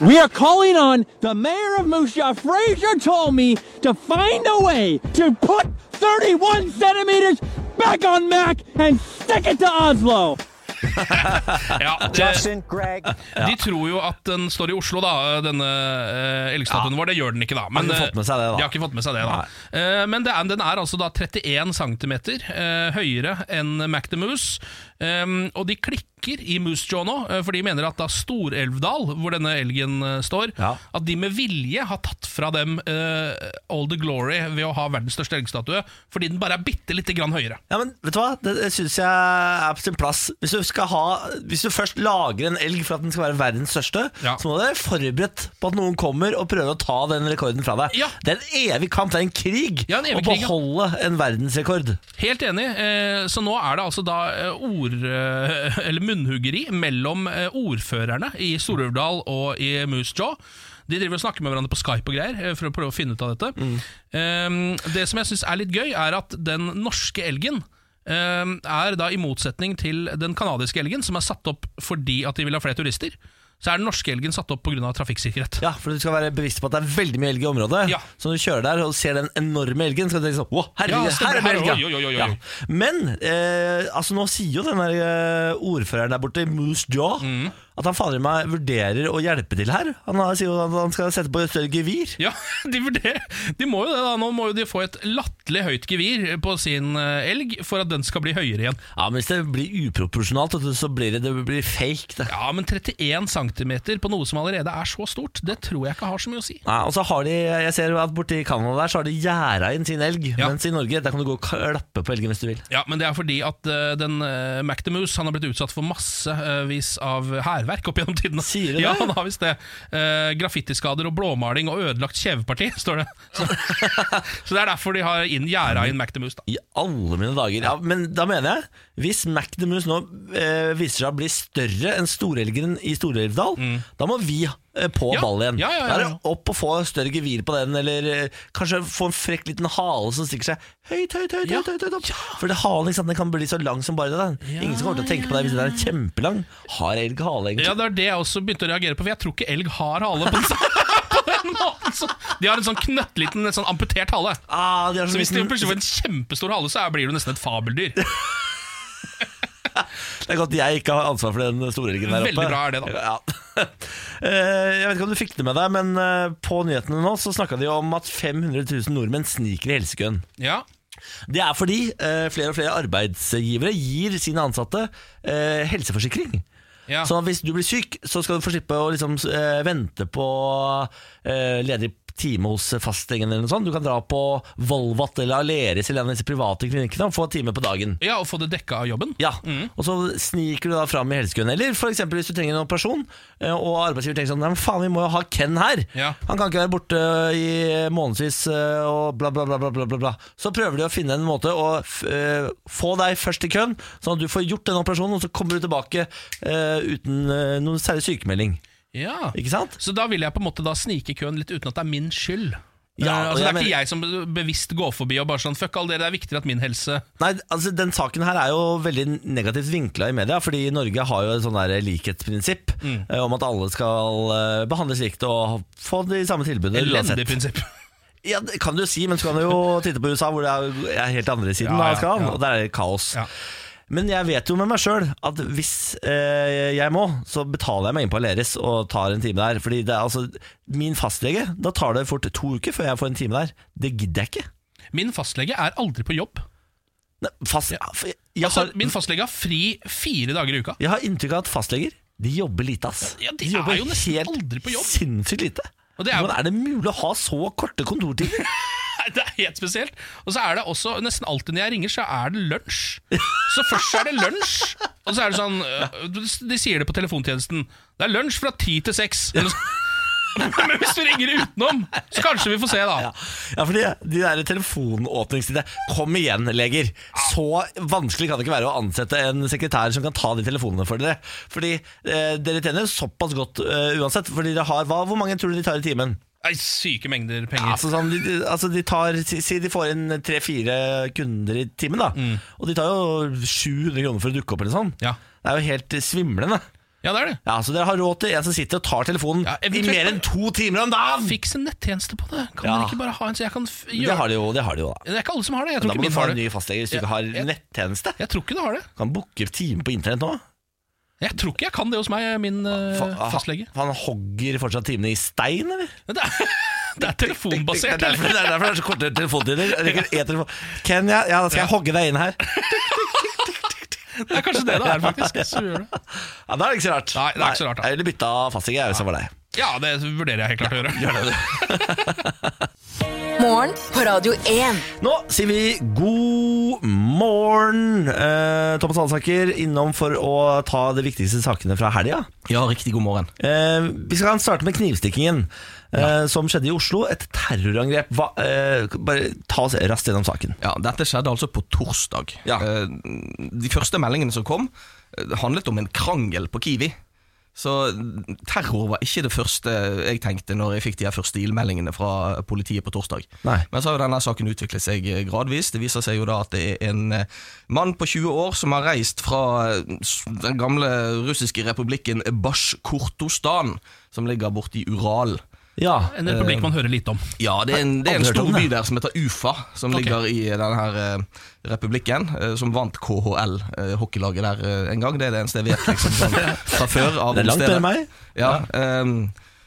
We are calling on the mayor of Moose Jaw. Fraser told me to find a way to put 31 centimeters back on Mac and stick it to Oslo.
Ja, eh,
Justin, Greg,
de tror jo at den står i Oslo, da, denne eh, elgstatuen vår. Det gjør den ikke, da. Men,
Har ikke
eh,
fått med seg det, da.
De har ikke fått med seg det, da. Eh, men det er, den er altså da 31 cm eh, høyere enn Mac the Moose. Eh, og de klikker i Moose Jaw nå, eh, for de mener at da Storelvdal, hvor denne elgen eh, står,
Ja.
at de med vilje har tatt fra dem eh, all the glory ved å ha verdens største elgstatue, fordi den bare er bitte lite grann høyere.
Ja, men vet du hva? Det, det syns jeg er på sin plass. Hvis du, skal ha, hvis du først lager en elg for at den skal være verdens største,
Ja.
så må du være forberedt på at noen kommer og prøver å ta den rekorden fra deg.
Ja.
Det er en evig kamp, det er en krig
Ja, en evig
å
krig, ja.
beholde en verdensrekord.
Helt enig. eh, Så nå er det altså da eh, ord... eh, Eller munnhuggeri mellom eh, ordførerne i Storulvdal og i Moose Jaw. De driver og snakker med hverandre på Skype og greier eh, for å prøve å finne ut av dette. Ehm, det som jeg syns er litt gøy, er at den norske elgen ehm, er da i motsetning til den kanadiske elgen, som er satt opp fordi at de vil ha flere turister, så er den norske elgen satt opp pga. trafikksikkerhet.
Ja, for du skal være bevisst på at det er veldig mye elg i området.
Ja.
Så når du kjører der og ser den enorme elgen, skal du tenke sånn Å, herregud,
Ja, stemmer.
her er det
Her,
elg! ja!»
oi, oi, oi, oi.
Ja. Men eh, altså, nå sier jo den der eh, ordføreren der borte, Moose Jaw,
Mm.
at han fader meg vurderer å hjelpe til her. Han har- sier jo at han skal sette på et større gevir.
Ja, de, vurderer, de må jo det da Nå må jo de få et latterlig høyt gevir på sin eh, elg for at den skal bli høyere igjen.
Ja, men hvis det blir uproporsjonalt, vet du, så blir det, det blir fake. Det.
Ja, men 31 cm på noe som allerede er så stort, det tror jeg ikke har så mye å si.
Nei, og så har de, jeg ser at borte i Canada der, så har de gjerda inn sin elg.
Ja.
Mens i Norge, der kan du gå og klappe på elgen hvis du vil.
Ja, men det er fordi at eh, den uh, Mac the Moose han har blitt utsatt for massevis av hærverk opp gjennom tidene.
Sier du det?
Ja, han har visst det. Eh, graffitiskader og blåmaling og ødelagt kjeveparti, står det. Så, så det er derfor de har inn gjerda inn Mac the Moose, da.
I alle mine dager. Ja, men da mener jeg Hvis Mac the Moose nå eh, viser seg å bli større enn storelgen i Storelvdal, da må vi eh, på
Mm. Ja.
ball igjen.
Ja, ja, ja,
Da er
ja.
det opp og få større gevir på den, eller eh, kanskje få en frekk liten hale som stikker seg høyt, høyt, høyt.
Ja.
høyt, høyt, høyt opp. For det halen ikke sant, den kan bli så lang som bare det. den. Ingen som kommer til å tenke på deg hvis den er kjempelang. Har elg hale, egentlig?
Ja, det er det jeg også begynte å reagere på, for jeg tror ikke elg har hale på den, på den måten. Så de har en sånn knøttliten, en sånn amputert hale.
Ah, de har
Så hvis de
liten-
plutselig får en kjempestor hale, så er- blir du nesten et fabeldyr.
Det er godt jeg ikke har ansvar for den storelgen der oppe.
Veldig bra er det, da.
Ja. Eh, Jeg vet ikke om du fikk det med deg, men eh, på nyhetene nå så snakka de om at 500 000 nordmenn sniker i helsekøen.
Ja,
Det er fordi eh, flere og flere arbeidsgivere gir sine ansatte eh, helseforsikring.
ja.
Så hvis du blir syk, så skal du få slippe å liksom, eh, vente på eh, ledig time hos fastlegen eller noe sånt. Du kan dra på Volvat eller Aleris eller en av disse private klinikkene og få time på dagen.
ja å få det dekka av jobben.
Ja, og så sniker du da fram i helsekøen. Eller for eksempel hvis du trenger en operasjon, eh, og arbeidsgiver tenker sånn Nei, men faen, vi må jo ha Ken her.
Ja.
Han kan ikke være borte i månedsvis eh, og bla, bla, bla, bla, bla, bla, bla. Så prøver de å finne en måte å f eh, få deg først i køen, sånn at du får gjort den operasjonen, og så kommer du tilbake eh, uten eh, noen særlig sykemelding.
Ja.
Ikke sant?
Så da vil jeg på en måte da snike i køen litt uten at det er min skyld.
Ja,
Eh,
og
altså, det
jeg
er
mener-
ikke jeg som bevisst går forbi og bare sånn Fuck all dere, det er viktigere at min helse
Nei, altså Den saken her er jo veldig negativt vinkla i media, fordi Norge har jo et sånn der likhetsprinsipp
Mm.
eh, om at alle skal eh, behandles likt og få de samme tilbudene
Elendig prinsipp.
Ja, det kan du si, men så kan du jo titte på USA, hvor det er- er helt andre siden
Ja,
av
ja,
skalaen,
ja.
og der er det kaos.
Ja.
Men jeg vet jo med meg sjøl at hvis eh, jeg må, så betaler jeg meg inn på Aleris og tar en time der. Fordi det er altså min fastlege, da tar det fort to uker før jeg får en time der. Det gidder jeg ikke.
Min fastlege er aldri på jobb.
Nei, fast, jeg, jeg
Altså,
har,
min fastlege har fri fire dager i uka.
Jeg har inntrykk av at fastleger de jobber lite, ass.
Ja, de er jo nesten aldri på jobb.
sinnssykt lite.
Og det er jo-
Hvordan er det mulig å ha så korte kontortider?
Det er helt spesielt. Og så er det også nesten alltid når jeg ringer, så er det lunsj. Så først så er det lunsj, og så er det sånn øh, De sier det på telefontjenesten. Det er lunsj fra ti til seks. Eller så- Men hvis du ringer utenom, så kanskje vi får se, da.
Ja, fordi de der telefonåpningstidene Kom igjen, leger! Så vanskelig kan det ikke være å ansette en sekretær som kan ta de telefonene for dere. Fordi eh, dere tjener såpass godt eh, uansett. Fordi dere har, hva, Hvor mange tror du de tar i timen?
Nei, syke mengder
Ja,
penger.
altså, sånn, de, de- altså de tar Si si de får inn tre-fire kunder i timen, da. Og de tar jo 700 kroner for å dukke opp eller sånn.
Mm. Ja.
Det er jo helt svimlende.
Ja, det er det.
Ja, Så dere har råd til en som sitter og tar telefonen
Ja,
i
eventuelt-
mer enn to timer om dagen?!
Fiks en nettjeneste på det. Kan
Ja.
man ikke bare ha en så jeg kan f
Det
gjøre
har de jo, det har de jo da.
Det er ikke alle som har det. Jeg tror
Da
ikke
må du
min
få
har
en ny
det.
fastlege hvis du
Ja,
ikke har
ja.
nettjeneste.
Jeg tror ikke det har det.
Kan booke time på internett nå.
Jeg tror ikke jeg kan det hos meg, min øh,
Fa- ha-
fastlege.
Han hogger fortsatt timene i stein, eller?
Men Det er, det er
Det er
telefonbasert,
derfor
eller?
det er, derfor det er så korte telefontider. Jeg ringer én telefon. Ken, ja, ja, da skal jeg hogge deg inn her.
Det er kanskje det det er, faktisk. Så gjør det.
Ja, Da er det ikke så rart.
Nei, det er ikke så rart, da.
Nei, Jeg ville bytta fastlege jeg, hvis jeg var deg.
Ja, det vurderer jeg helt klart å gjøre.
Morgen på Radio 1.
Nå sier vi god morgen. Eh, Thomas Alsaker innom for å ta de viktigste sakene fra helga.
Ja, riktig god morgen.
Eh, vi skal starte med knivstikkingen eh, som skjedde i Oslo. Et terrorangrep. Hva, eh, bare ta oss raskt gjennom saken.
Ja, Dette skjedde altså på torsdag.
Ja.
Eh, De første meldingene som kom, eh, handlet om en krangel på Kiwi. Så terror var ikke det første jeg tenkte når jeg fikk de her første ildmeldingene fra eh, politiet på torsdag.
Nei.
Men så har jo denne saken utviklet seg eh, gradvis. Det viser seg jo da at det er en eh, mann på 20 år som har reist fra eh, s- den gamle russiske republikken Basjkortostan, som ligger borti Ural.
Ja.
En republikk man hører lite om.
Ja, det er en, det er en
Aldri hørt
stor
om
by
det.
der som heter Ufa, som
Ok.
ligger i denne her eh, republikken, eh, som vant KHL, eh, hockeylaget der, eh, en gang. Det er det eneste jeg vet liksom, sånn, fra før. Av
Det er langt
stedet.
mer meg.
Ja, ehm,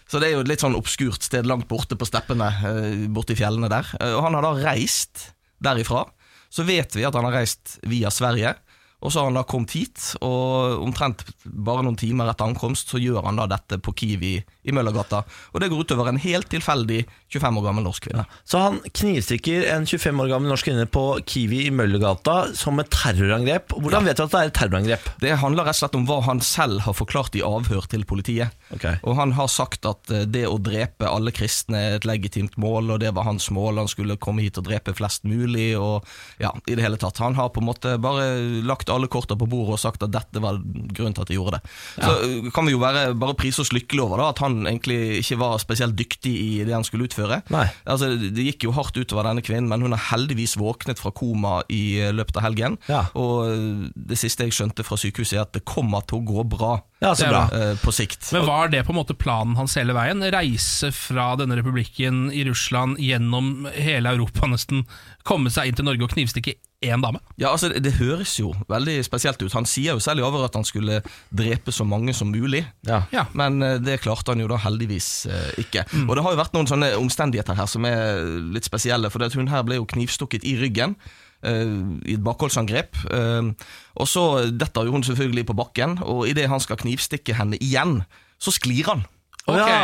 så det er jo et litt sånn obskurt sted langt borte på steppene, eh, borte i fjellene der. Eh, Og han har da reist derifra. Så vet vi at han har reist via Sverige. Og så har han da kommet hit, og omtrent bare noen timer etter ankomst så gjør han da dette på Kiwi i Møllergata. Og det går utover en helt tilfeldig 25 år gammel norsk kvinne.
Så han knivstikker en 25 år gammel norsk kvinne på Kiwi i Møllergata som et terrorangrep. Hvordan vet du at det er et terrorangrep?
Det handler rett og slett om hva han selv har forklart i avhør til politiet.
Ok.
Og han har sagt at eh, det å drepe alle kristne er et legitimt mål, og det var hans mål, han skulle komme hit og drepe flest mulig, og ja, i det hele tatt. Han har på en måte bare lagt alle korta på bordet og sagt at dette var grunnen til at de gjorde det. Så eh, kan vi jo være, bare prise oss lykkelig over da, at han egentlig ikke var spesielt dyktig i det han skulle utføre.
Nei.
Altså, det gikk jo hardt utover denne kvinnen, men hun har heldigvis våknet fra koma i eh, løpet av helgen.
Ja.
Og eh, det siste jeg skjønte fra sykehuset er at det kommer til å gå bra
Ja, så bra.
eh, på sikt.
Men var det på en måte planen hans hele veien? Reise fra denne republikken i Russland gjennom hele Europa nesten, komme seg inn til Norge og knivstikke én dame?
Ja, altså det, det høres jo veldig spesielt ut. Han sier jo selv i over at han skulle drepe så mange som mulig.
Ja.
Ja.
Men eh, det klarte han jo da heldigvis eh, ikke. Og det har jo vært noen sånne omstendigheter her som er eh, litt spesielle. For det at hun her ble jo knivstukket i ryggen eh, i et bakholdsangrep. eh, og så detter jo hun selvfølgelig på bakken, og idet han skal knivstikke henne igjen, så sklir han.
Å, ja.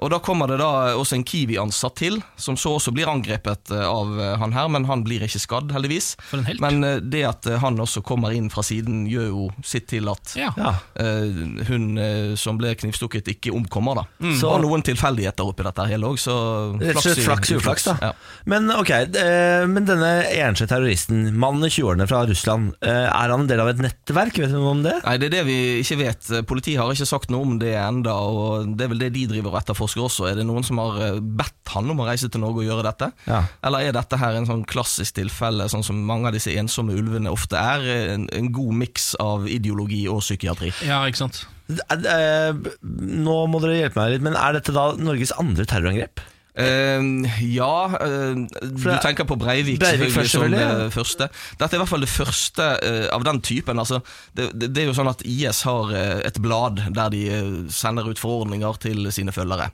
Og da kommer det da også en Kiwi-ansatt til, som så også blir angrepet eh, av eh, han her, men han blir ikke skadd, heldigvis.
For en helt.
Men eh, det at eh, han også kommer inn fra siden, gjør jo sitt til at
Ja.
Ja.
eh, hun eh, som ble knivstukket, ikke omkommer, da.
Mm. Så-
Og noen tilfeldigheter oppi dette hele òg, så
Rett og slett flaks
i-
i uflaks, da.
Ja.
Men ok, eh, men denne enslige terroristen, mannen i 20-årene fra Russland, eh, er han en del av et nettverk? Vet du noe om det?
Nei, det er det vi ikke vet. Politiet har ikke sagt noe om det enda, og det er vel det de driver og etterforsker også. Er det noen som har eh, bedt han om å reise til Norge og gjøre dette?
Ja.
Eller er dette her en sånn klassisk tilfelle, sånn som mange av disse ensomme ulvene ofte er? En, en god miks av ideologi og psykiatri.
ja, ikke sant.
Er- eh, Nå må dere hjelpe meg litt, men er dette da Norges andre terrorangrep?
Eh, ja, eh, du
det-
tenker på Breivik,
Breivik
selvfølgelig
først,
som det
selvfølgelig, ja.
første. Dette er i hvert fall det første eh, av den typen. Altså, det, det, det er jo sånn at IS har eh, et blad der de eh, sender ut forordninger til sine følgere.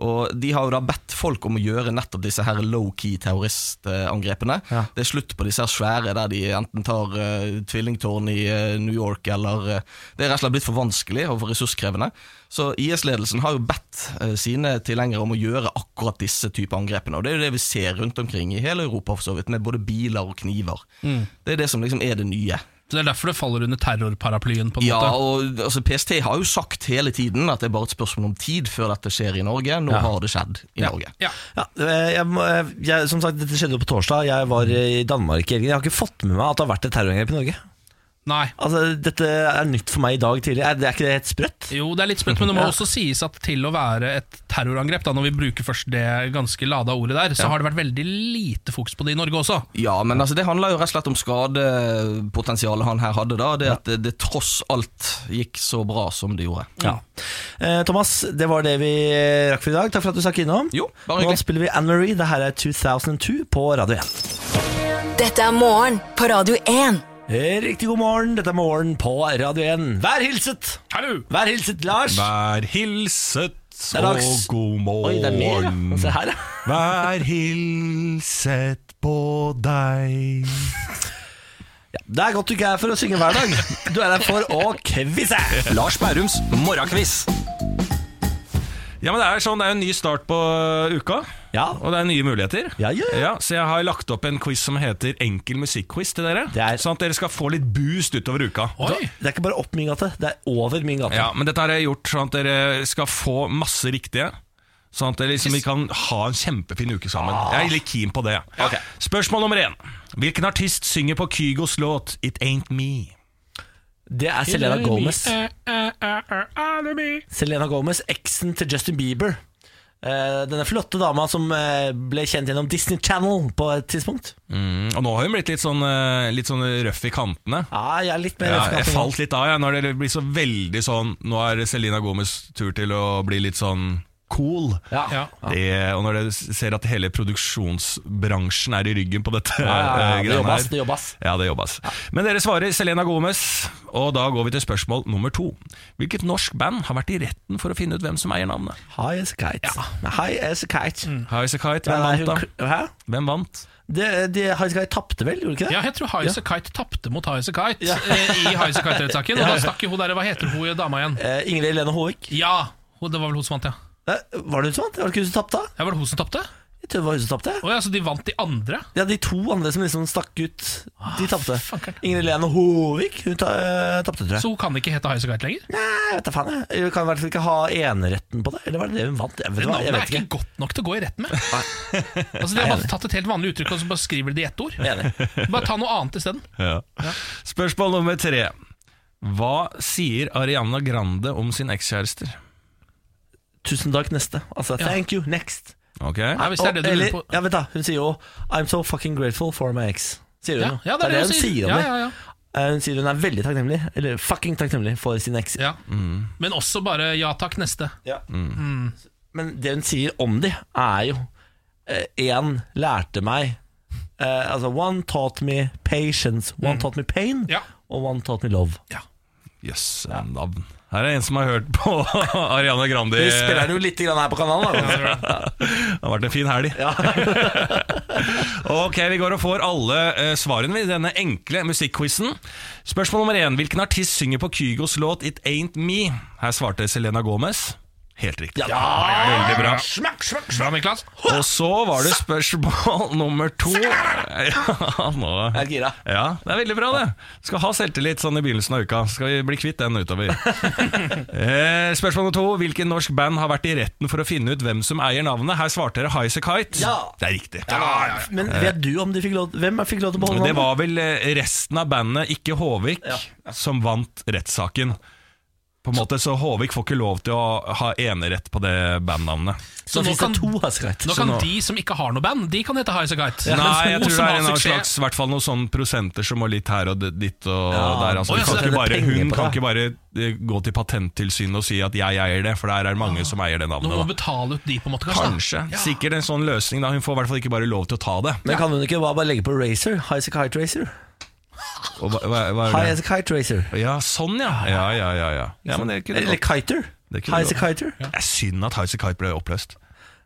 Og De har jo da bedt folk om å gjøre nettopp disse her low-key terroristangrepene.
Ja.
Det er slutt på disse her svære der de enten tar eh, tvillingtårn i eh, New York eller eh, Det er rett og slett blitt for vanskelig og for ressurskrevende. Så IS-ledelsen har jo bedt eh, sine tilhengere om å gjøre akkurat disse type angrepene. Og det er jo det vi ser rundt omkring i hele Europa, for så vidt, med både biler og kniver.
Mm.
Det er det som liksom er det nye.
Så Det er derfor det faller under terrorparaplyen, på en
Ja,
måte.
og altså, PST har jo sagt hele tiden at det er bare et spørsmål om tid før dette skjer i Norge. Nå har det skjedd i Norge.
Ja.
Ja, eh, jeg, må- eh, jeg, som sagt, Dette skjedde jo på torsdag. Jeg var i Danmark i helgen. Jeg har ikke fått med meg at det har vært et terrorangrep i Norge.
Nei.
Altså, Dette er nytt for meg i dag tidlig. Er, det- er ikke det helt sprøtt?
Jo, det er litt sprøtt, men det må
Ja.
også sies at til å være et terrorangrep, da, når vi bruker først det ganske lada ordet der, så har det vært veldig lite fokus på det i Norge også.
Ja, men altså, det handler jo rett og slett om skadepotensialet han her hadde. da, Det at det, det tross alt gikk så bra som det gjorde.
Ja. Eh, Thomas, det var det vi eh, rakk for i dag. Takk for at du stakk innom.
Jo, bare
Nå
hyggelig.
spiller vi Anne-Marie. Det her er 2002 på Radio 1.
Dette er morgen på Radio 1.
Riktig god morgen. Dette er Morgen på Radio 1. Vær hilset!
Hallo!
Vær hilset, Lars.
Vær hilset
er
og
dags.
god
Oi, det er mer, ja.
morgen.
Se her, ja.
Vær hilset på deg.
Det er godt du ikke er her for å synge hver dag. Du er her for å quize.
Lars Bærums morgenkviss.
Ja, men Det er sånn, det er jo en ny start på uka,
Ja.
og det er nye muligheter.
Ja, ja, ja.
Så jeg har lagt opp en quiz som heter Enkel musikkquiz til dere.
Det er-
Sånn at dere skal få litt boost utover uka.
Sånn
Oi!
Det er ikke bare opp min gate, det er over min gate.
Ja, Men dette har jeg gjort sånn at dere skal få masse riktige. Sånn at dere liksom vi kan ha en kjempefin uke sammen. Jeg er litt keen på det. Spørsmål nummer én. Hvilken artist synger på Kygos låt 'It Ain't Me'?
Det er Selena Gomez.
eh.
Selena Gomez, eksen til Justin Bieber. Eh, Denne flotte dama som eh, ble kjent gjennom Disney Channel på et tidspunkt.
Mm, og nå har hun blitt litt sånn, eh, litt sånn røff i kantene.
Ja, jeg er litt mer
Ja,
røff i
jeg
kanten.
falt litt av jeg, når det blir så veldig sånn Nå er Selena Gomez tur til å bli litt sånn cool.
Ja.
Ja.
Det, og når dere ser at hele produksjonsbransjen er i ryggen på dette
Ja, ja, ja,
eh,
det
greiene
jobbes,
her.
det jobbes.
Ja, det jobbes. Men dere svarer Selena Gomez, og da går vi til spørsmål nummer to. Hvilket norsk band har vært i retten for å finne ut hvem som eier navnet?
High as a kite. High as a kite.
Mm.
High as a Kite,
Nei,
hvem
hun-
vant da?
Hæ?
Hvem vant?
Det- de- High as a kite tapte vel, gjorde de ikke det?
Ja, jeg tror Highasakite Kite tapte mot Highasakite
Ja.
eh, i Highasakite-rettssaken. Og da stakk jo hun der, hva heter hun dama igjen?
Eh, Ingrid Helene Håvik.
Ja, hun- det var vel hun som vant, ja.
Eh, var det hun som vant? Var det ikke hun som tapte?
Ja, Var det hun som tapte?
Jeg tror det var hun som tapte.
Å ja, så de vant de andre?
Ja, de to andre som liksom stakk ut,
Ah,
de tapte.
fankeren.
Ingrid Helene Håvik hun ta, eh, tapte, tror jeg.
Så hun kan ikke hete Highasakite Kite lenger?
Nei, jeg vet da faen jeg. Hun kan i hvert fall ikke ha eneretten på det. Eller var det det hun vant? Jeg vet, hva,
Navnet
jeg
er
vet
ikke
ikke.
godt nok til å gå i retten med. Altså, De har bare tatt et helt vanlig uttrykk og så bare skriver de det i ett ord.
Enig.
Bare ta noe annet isteden.
Spørsmål nummer tre. Hva sier Ariana Grande om sin ekskjærester?
Tusen takk, neste. Altså, thank you, next.
Ok,
Ja, hvis det er det du lurer
eller,
på.
ja, vent da, hun sier jo I'm so fucking grateful for my ex. Sier hun
Ja,
jo.
ja, det er det hun sier.
om
Ja,
det.
ja, ja.
Eh, Hun sier hun er veldig takknemlig, eller fucking takknemlig, for sin eks.
Ja. Men også bare 'ja takk, neste'.
Mm.
Men det hun sier om de, er jo Én lærte meg eh, Altså, one taught me patience, one taught me pain,
Ja.
og one taught me love.
Jøss, navn. Her er en som har hørt på Ariana Grande.
Vi spiller den jo litt grann her på kanalen. Da.
Det har vært en fin helg. ok, Vi går og får alle eh, svarene ved denne enkle musikkquizen. Spørsmål nummer én. Hvilken artist synger på Kygos låt 'It Ain't Me'? Her svarte Selena Gomez. Helt riktig. Veldig bra.
Bra, Miklas.
Og så var det spørsmål nummer to. Ja, nå
Jeg er gira.
Ja, det er veldig bra, det. Skal ha selvtillit sånn i begynnelsen av uka. Skal vi bli kvitt den utover. eh, spørsmål nummer to. Hvilken norsk band har vært i retten for å finne ut hvem som eier navnet? Her svarte dere Highasakite. Kite.
Ja.
Det er riktig.
Men
Eh.
vet du om de fikk lov Hvem fikk lov til å beholde
Det
navnet?
var vel eh, resten av bandet, ikke Håvik, som vant rettssaken. På en måte, så Håvik får ikke lov til å ha enerett på det bandnavnet.
Så
Så nå
finnes
kan,
det to Hasekite.
nå kan de som ikke har noe band, de kan hete Highasakite Kite.
Nei, jeg
To
tror det
som
er
har
en av
suksess.
slags hvert fall noen sånne prosenter som må litt her og d- dit og
Ja.
der. Altså,
Oi,
du
altså,
kan
det er
ikke bare,
penger
hun
på
kan
det.
ikke bare eh, gå til Patenttilsynet og si at 'jeg eier det', for der er det mange som eier det
Nå må
navnet.
vi
Da.
betale ut de, på en måte, kanskje. da.
Kanskje. Sikkert en sånn løsning. da Hun får i hvert fall ikke bare lov til å ta det.
Men kan hun ikke bare legge på Racer? High Kite Racer?
Og hva, hva, hva
High
er det?
as a kite racer.
Ja, sånn, ja. Ja, ja, ja, ja. ja men det er ikke det.
Eller kiter.
Det kunne
High as a
det
kiter.
Det er synd at Highasakite Kite ble oppløst.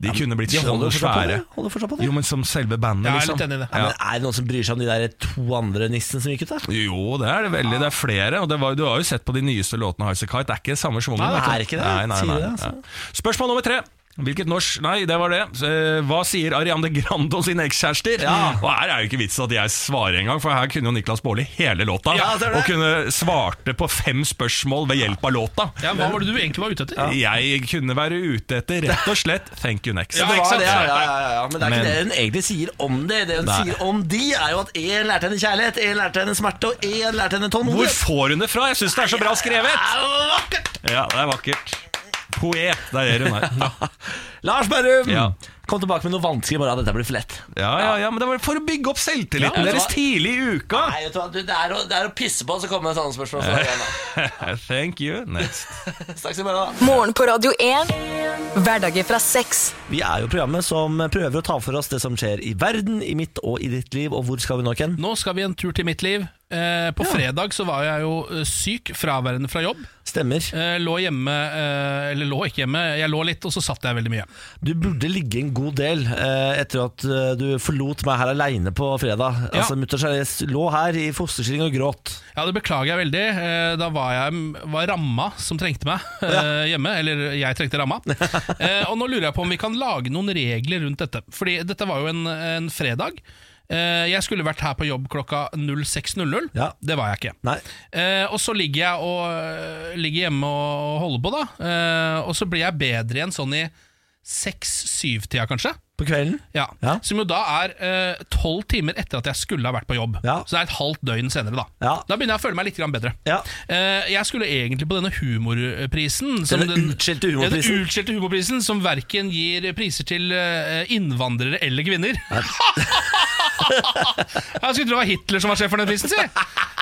De kunne blitt
De
sånn
holder fortsatt på det.
svære.
Holder fortsatt på det.
Jo, men som selve bandet,
Ja, jeg er
liksom.
litt enig i det.
Ja, men er det noen som bryr seg om de der to andre nissene som gikk ut? da?
Jo, det er det veldig. Det er flere. Og det var, du har jo sett på de nyeste låtene av Highasakite. Det er ikke samme schwungen.
Nei, det
vet
er
du.
ikke det.
Nei, nei,
Sier
nei,
det,
nei.
altså.
Spørsmål nummer tre. Hvilket norsk Nei, det var det. Eh, Hva sier Ariande Grande om sine ekskjærester? Og her er jo ikke vits at jeg svarer engang, for her kunne jo Niklas Baarli hele låta.
Ja, det er det.
og kunne svarte på fem spørsmål ved hjelp av låta.
Ja, hva var det du egentlig var ute etter?
Jeg kunne være ute etter rett og slett Thank you next.
Ja, ikke sant?
ja, ja, ja, ja. Men det er ikke
Men-
det hun egentlig sier om det. Det hun
Nei.
sier om de, er jo at én lærte henne kjærlighet, én lærte henne smerte, og én lærte henne
Hvor
tålmodighet.
får hun det fra? Jeg syns det er så bra skrevet!
Det er vakkert!
Ja, det er vakkert. Poet, der er hun her.
Lars Berrum,
Ja.
kom tilbake med noe vanskelig i morgen. Dette blir for lett.
Ja, ja, ja, men det var for å bygge opp selvtilliten
Ja, vet du
deres
hva?
tidlig i uka.
Nei, vet du hva, du, det, er å, det er å pisse på, så kommer det sånne spørsmål. Så igjen, da.
Thank you. Next.
Snakkes i morgen, da.
Morgen på Radio 1. Hverdager fra seks.
Vi er jo programmet som prøver å ta for oss det som skjer i verden, i mitt og i ditt liv. Og hvor skal vi nå, Ken?
Nå skal vi en tur til mitt liv. Eh, på fredag så var jeg jo eh, syk, fraværende fra jobb.
Stemmer.
Eh, lå hjemme, eh, eller lå ikke hjemme, jeg lå litt, og så satt jeg veldig mye.
Du burde ligge en god del eh, etter at eh, du forlot meg her aleine på fredag.
Ja.
Altså, Mutters herre lå her i fosterstilling og gråt.
Ja, det beklager jeg veldig. Eh, da var jeg var ramma som trengte meg eh, hjemme. Eller jeg trengte ramma. eh, og nå lurer jeg på om vi kan lage noen regler rundt dette. Fordi dette var jo en, en fredag. Eh, jeg skulle vært her på jobb klokka 06.00.
Ja.
Det var jeg ikke.
Nei.
Eh, og så ligger jeg Eh, og, ligger hjemme og holder på, da. Eh, og så blir jeg bedre igjen sånn i seks-syv-tida, kanskje.
På kvelden?
Ja.
Ja.
Som jo da er eh, tolv timer etter at jeg skulle ha vært på jobb.
Ja.
Så det er et halvt døgn senere. Da
Ja.
Da begynner jeg å føle meg litt grann bedre.
Ja.
Eh, jeg skulle egentlig på denne humorprisen.
Denne utskjelte humorprisen?
Ja, den utskjelte humorprisen Som verken gir priser til eh, innvandrere eller kvinner. jeg skulle tro det var Hitler som var sjef for den prisen, si!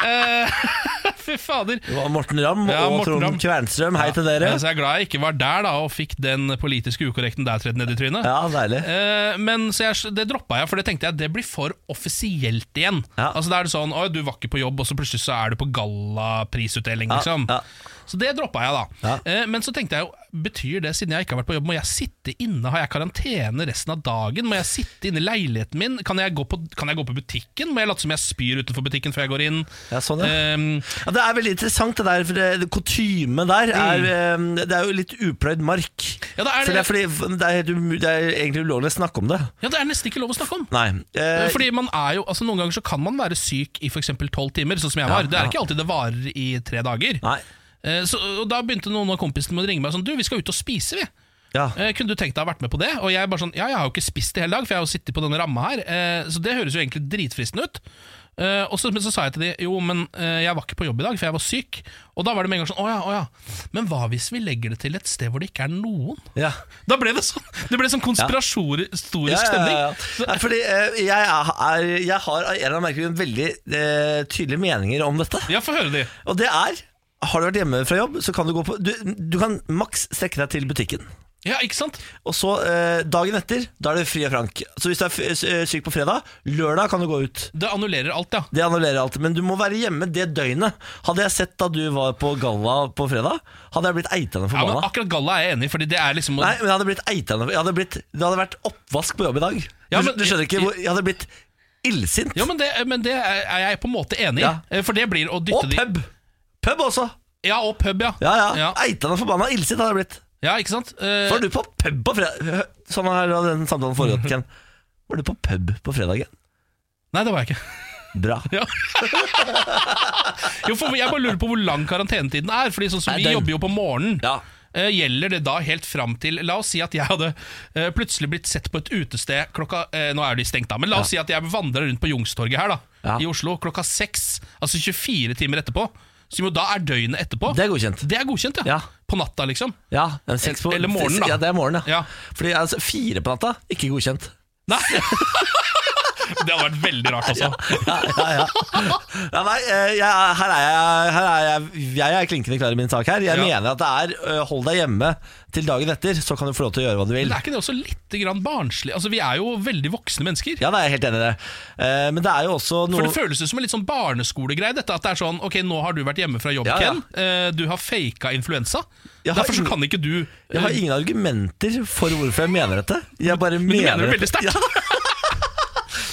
Eh, fy fader.
Det var Morten Ramm
Ja,
og
Morten Ramm.
Trond Kvernstrøm, hei til
Ja,
dere.
Så jeg er glad jeg ikke var der da og fikk den politiske ukorrekten der tredd ned i trynet.
Ja, deilig.
Eh, men så jeg, det droppa jeg, for det tenkte jeg det blir for offisielt igjen.
Ja.
Altså Da er det sånn Å, du var ikke på jobb, og så plutselig så er du på gallaprisutdeling,
Ja,
liksom.
ja.
Så det droppa jeg, da.
Ja.
Eh, men så tenkte jeg jo, betyr det, siden jeg ikke har vært på jobb, må jeg sitte inne? Har jeg karantene resten av dagen? Må jeg sitte inne i leiligheten min? Kan jeg gå på, kan jeg gå på butikken? Må jeg late som jeg spyr utenfor butikken før jeg går inn?
Ja, sånn, ja.
Ehm,
Ja, det er veldig interessant det der, for det, det kutyme der er, eh, Det er jo litt upløyd mark.
Mm. Ja, det er
For det
det.
er, fordi det er, helt umu- det er egentlig ulovlig å snakke om det.
ja, det er nesten ikke lov å snakke om.
Nei. eh,
Fordi man er jo, altså Noen ganger så kan man være syk i f.eks. tolv timer, sånn som jeg var. Det er ikke alltid det varer i tre dager.
nei.
Eh, Så, og Da begynte noen av kompisene med å ringe meg sånn Du, vi skal ut og spise, vi.
Ja.
Eh, kunne du tenkt deg å ha vært med på det? Og jeg bare sånn Ja, jeg har jo ikke spist i hele dag, for jeg har jo sittet på denne ramma her. Eh, så det høres jo egentlig dritfristende ut. Eh, og så, men så sa jeg til de Jo, men eh, jeg var ikke på jobb i dag, for jeg var syk. Og da var det med en gang sånn Å ja, å ja. Men hva hvis vi legger det til et sted hvor det ikke er noen?
Ja.
Da ble det sånn Det ble sånn konspiratorisk stemning.
ja, ja. Nei, fordi eh, jeg, er, er, jeg har av en eller annen merkelig grunn veldig eh, tydelige meninger om dette.
Ja, få høre de.
Og det er Har du vært hjemme fra jobb, så kan du gå på Du, du kan maks strekke deg til butikken.
Ja, ikke sant?
Og så eh, Dagen etter, da er det fri og frank. Så hvis du er f eh, syk på fredag, lørdag kan du gå ut.
Det annullerer alt, ja.
Det annullerer alt, men du må være hjemme det døgnet. Hadde jeg sett da du var på galla på fredag, hadde jeg blitt eitende
ja men
forbanna.
akkurat galla er jeg enig i, fordi det er liksom
Nei, men jeg hadde blitt eitende jeg hadde blitt, Det hadde vært oppvask på jobb i dag.
Ja,
du,
men-
du skjønner ikke hvor Jeg hadde blitt illsint.
Ja, men det, men det er jeg på en måte enig i.
Ja.
Eh, For det blir å dytte
Og
de
pub! Pub også.
Ja, og pub, ja.
Ja, ja.
Ja,
Eitende forbanna illsint hadde jeg blitt.
Ja, ikke sant? Eh,
Var du på pub på fredag? Sånn her har den samtalen foregått, Ken. Var du på pub på fredagen?
Nei, det var jeg ikke.
Bra.
Jo, for Jeg bare lurer på hvor lang karantenetiden er. Fordi sånn som
Nei,
Vi
den-
jobber jo på morgenen.
Ja.
Eh, gjelder det da helt fram til La oss si at jeg hadde eh, plutselig blitt sett på et utested klokka eh, Nå er de stengt, da, men la oss si at jeg vandra rundt på Youngstorget her da
Ja.
i Oslo klokka seks. Altså 24 timer etterpå. Som jo da er døgnet etterpå.
Det er godkjent.
Det er godkjent,
Ja.
ja. På natta, liksom.
Ja, men seks på,
Eller morgenen, da.
Ja, det er morgenen, ja.
Ja.
Fordi altså, fire på natta, ikke godkjent.
Nei! det hadde vært veldig rart også.
Ja, nei, eh, jeg, er- her er jeg, her er jeg, jeg er klinkende klar i min sak her. Jeg
Ja.
mener at det er eh, hold deg hjemme til dagen etter, så kan du få lov til å gjøre hva du vil.
Men er ikke det også litt grann barnslig? Altså, Vi er jo veldig voksne mennesker.
Ja, nei, jeg er helt enig i det. Eh, Men det er jo også
For
noe
det føles jo som en litt sånn barneskolegreie. Dette at det er sånn, ok, Nå har du vært hjemme fra jobb,
Ja, ja.
Ken. Eh, Du har faka influensa.
Jeg har
Derfor så
ingen-
kan ikke du eh,
Jeg har ingen argumenter for hvorfor jeg mener dette. Jeg bare
Men du
mener,
mener det veldig
dette.
sterkt!
Ja,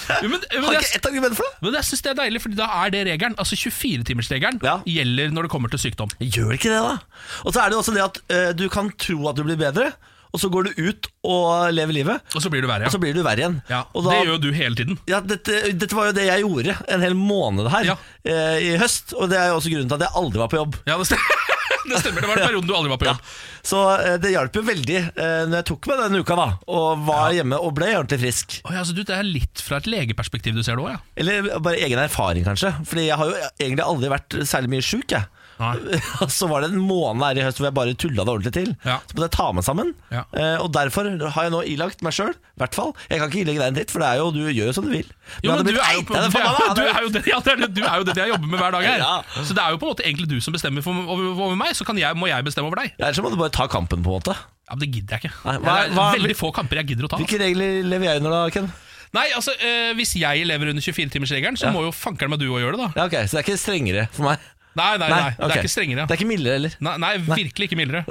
Jo, men, men,
har ikke
jeg,
ett argument for det.
men jeg syns det er deilig, Fordi da er det regelen. Altså 24-timersregelen
Ja.
gjelder når det kommer til sykdom.
Gjør ikke det, da. Og så er det jo også det at eh, du kan tro at du blir bedre, og så går du ut og lever livet,
Og så blir du verre,
og så
ja.
blir du verre igjen.
ja
og da,
det gjør jo du hele tiden.
ja, dette, dette var jo det jeg gjorde en hel måned her
Ja.
eh, i høst, og det er jo også grunnen til at jeg aldri var på jobb.
Ja, det stemmer. det stemmer. Det var den perioden du aldri var på jobb.
Så eh, det hjalp jo veldig eh, når jeg tok meg den uka da Og var hjemme og ble ordentlig frisk
Å ja, så du, Det er litt fra et legeperspektiv du ser det òg, ja.
Eller bare egen erfaring kanskje Fordi jeg har jo egentlig aldri vært særlig mye syk jeg.
Nei.
Så var det en måned her i høst hvor jeg bare tullet det ordentlig til
Ja.
Så måtte jeg ta meg sammen
Ja.
Eh, Og derfor har jeg nå ilagt meg selv i hvert fall Jeg kan ikke ilegge deg en dritt For det er jo, du gjør jo som du vil
Jo,
jeg hadde
men du
blitt
er jo, du
eitet for meg,
er,
da.
du er jo det, ja, det er det, du er jo det jeg jobber med hver dag her.
Ja.
Så det er jo på en måte egentlig du som bestemmer for, over, over meg, så kan jeg, må jeg bestemme over deg.
Ja, Ellers så må du bare ta kampen på en måte
Ja, men Det gidder jeg ikke.
Nei, hva-
det er
hva-
veldig få kamper jeg gidder å ta.
Hvilke regler lever jeg under da, Ken?
Nei, altså, eh, Hvis jeg lever under 24-timersregelen, så må jo fankeren meg du òg gjøre det, da.
Ja, ok, så det er ikke strengere for meg
Nei, nei, nei, det
ok.
er ikke strengere.
Det er ikke mildere heller
Nei, nei, virkelig ikke mildere.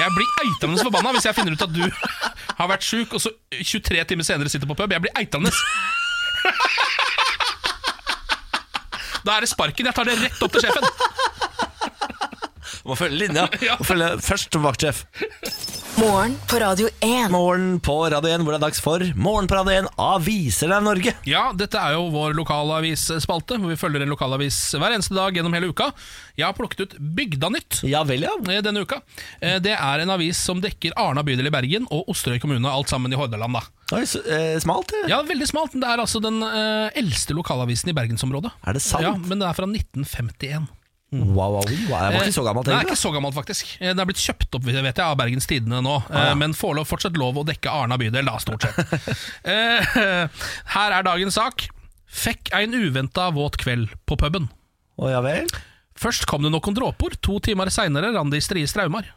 Jeg blir eitende forbanna hvis jeg finner ut at du har vært sjuk, og så 23 timer senere sitter på pub. Jeg blir eitende. Da er det sparken. Jeg tar det rett opp til sjefen.
Du må følge linja.
Ja.
Du må følge først vaktsjef.
Morgen på Radio 1.
Morgen på Radio 1, hvor det er dags for Morgen på Radio 1 aviser deg Norge.
Ja, dette er jo vår lokalavis-spalte, hvor vi følger en lokalavis hver eneste dag gjennom hele uka. Jeg har plukket ut Bygdanytt
Ja vel, ja.
eh, denne uka. Eh, Det er en avis som dekker Arna bydel i Bergen og Osterøy kommune, alt sammen i Hordaland. da.
Oi, så, eh, smalt, det.
Ja, veldig smalt, men det er altså den eh, eldste lokalavisen i bergensområdet.
Er det sant?
Ja, men det er fra 1951.
Wow, wow, wow. Jeg var ikke så gammel
Det
til
er Eh, ikke så gammelt, faktisk. Eh, Det er blitt kjøpt opp vet jeg, av Bergens Tidende nå, eh, men får lov, fortsatt lov å dekke Arna bydel, da, stort sett. Eh, Her er dagens sak. Fikk ein uventa våt kveld på puben.
Å ja vel.
Først kom det noen dråper, to timer seinere rann det i strie straumar.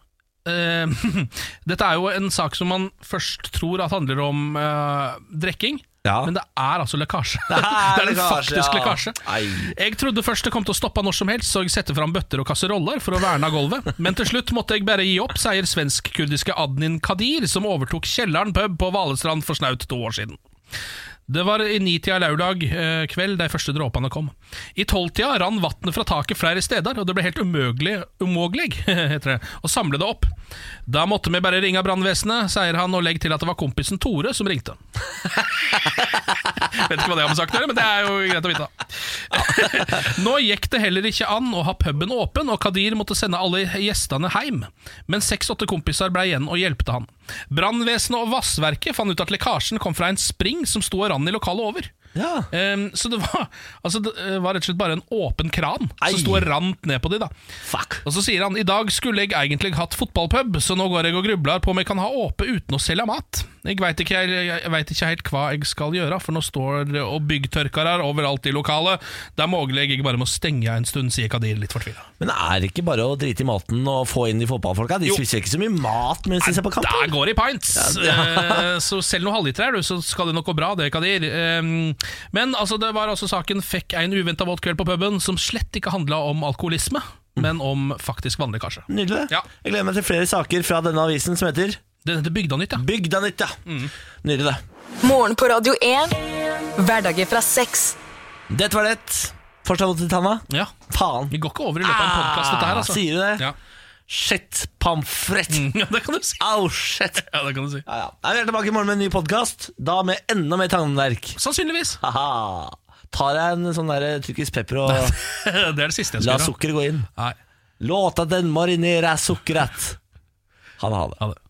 Eh, Dette er jo en sak som man først tror at handler om eh, drikking,
Ja.
men det er altså lekkasje. Det
er
en
lekkasje,
faktisk
ja.
lekkasje.
Ei.
Jeg trodde først det kom til å stoppe når som helst, så jeg sette fram bøtter og kasseroller for å verne av gulvet. Men til slutt måtte jeg bare gi opp, sier svensk-kurdiske Adnin Kadir, som overtok Kjelleren pub på Valestrand for snaut to år siden. Det var i nitida lørdag eh, kveld de første dråpene kom. I tolvtida rann vannet fra taket flere steder, og det ble helt umulig, umulig heter det, å samle det opp. Da måtte vi bare ringe brannvesenet, sier han, og legg til at det var kompisen Tore som ringte. Vet ikke hva det har med saken å gjøre, men det er jo greit å vite. da. Nå gikk det heller ikke an å ha puben åpen, og Kadir måtte sende alle gjestene hjem. Men seks-åtte kompiser ble igjen og hjelpte han. Brannvesenet og Vassverket fant ut at lekkasjen kom fra en spring som sto og rant i lokalet over.
Ja.
Ehm, så det var, altså, det eh, var rett og slett bare en åpen kran
Ei.
som sto og rant ned på de da.
Fuck.
Og så sier han I dag skulle jeg egentlig hatt fotballpub, så nå går jeg og grubler på om jeg kan ha åpe uten å selge mat. Jeg veit ikke, jeg, jeg vet ikke helt hva jeg skal gjøre, for nå står det og byggtørkere overalt i lokalet. Det er mulig jeg bare må stenge en stund, sier Kadir litt fortvila.
Men er det ikke bare å drite i maten og få inn de fotballfolka? De
Jo.
spiser ikke så mye mat mens de ser på
Der
kampen.
går det i pints! Eh, så selv noen halvliter her, du, så skal det nok gå bra, det, Kadir. Ehm, men altså, det var altså saken 'Fikk en uventa våt kveld på puben', som slett ikke handla om alkoholisme, men om faktisk vannlekkasje.
Nydelig.
Ja.
Jeg gleder meg til flere saker fra denne avisen som heter
Den heter Bygdanytt, ja.
Mm. Bygdanytt. ja.
Mm.
Nydelig, det.
Morgen på Radio 1. Hverdager fra seks.
Dette var det. Forstår du til Tanna?
ja.
Faen.
Vi går ikke over i løpet av en podkast, dette her, altså.
Ah, Sier du det?
Ja.
Shit, pamfrett.
ja, det kan du si.
Au, shit.
Ja, det kan du si.
Ja, ja. Nei, Vi er tilbake i morgen med en ny podkast, da med enda mer tannverk.
Sannsynligvis.
Ah. Haha. Tar jeg en sånn der tyrkisk pepper og
det er det siste jeg
la
skal gjøre.
sukkeret gå inn?
Nei,
Låta den marinerer sukkeret. Ha det, ha det.
ha det.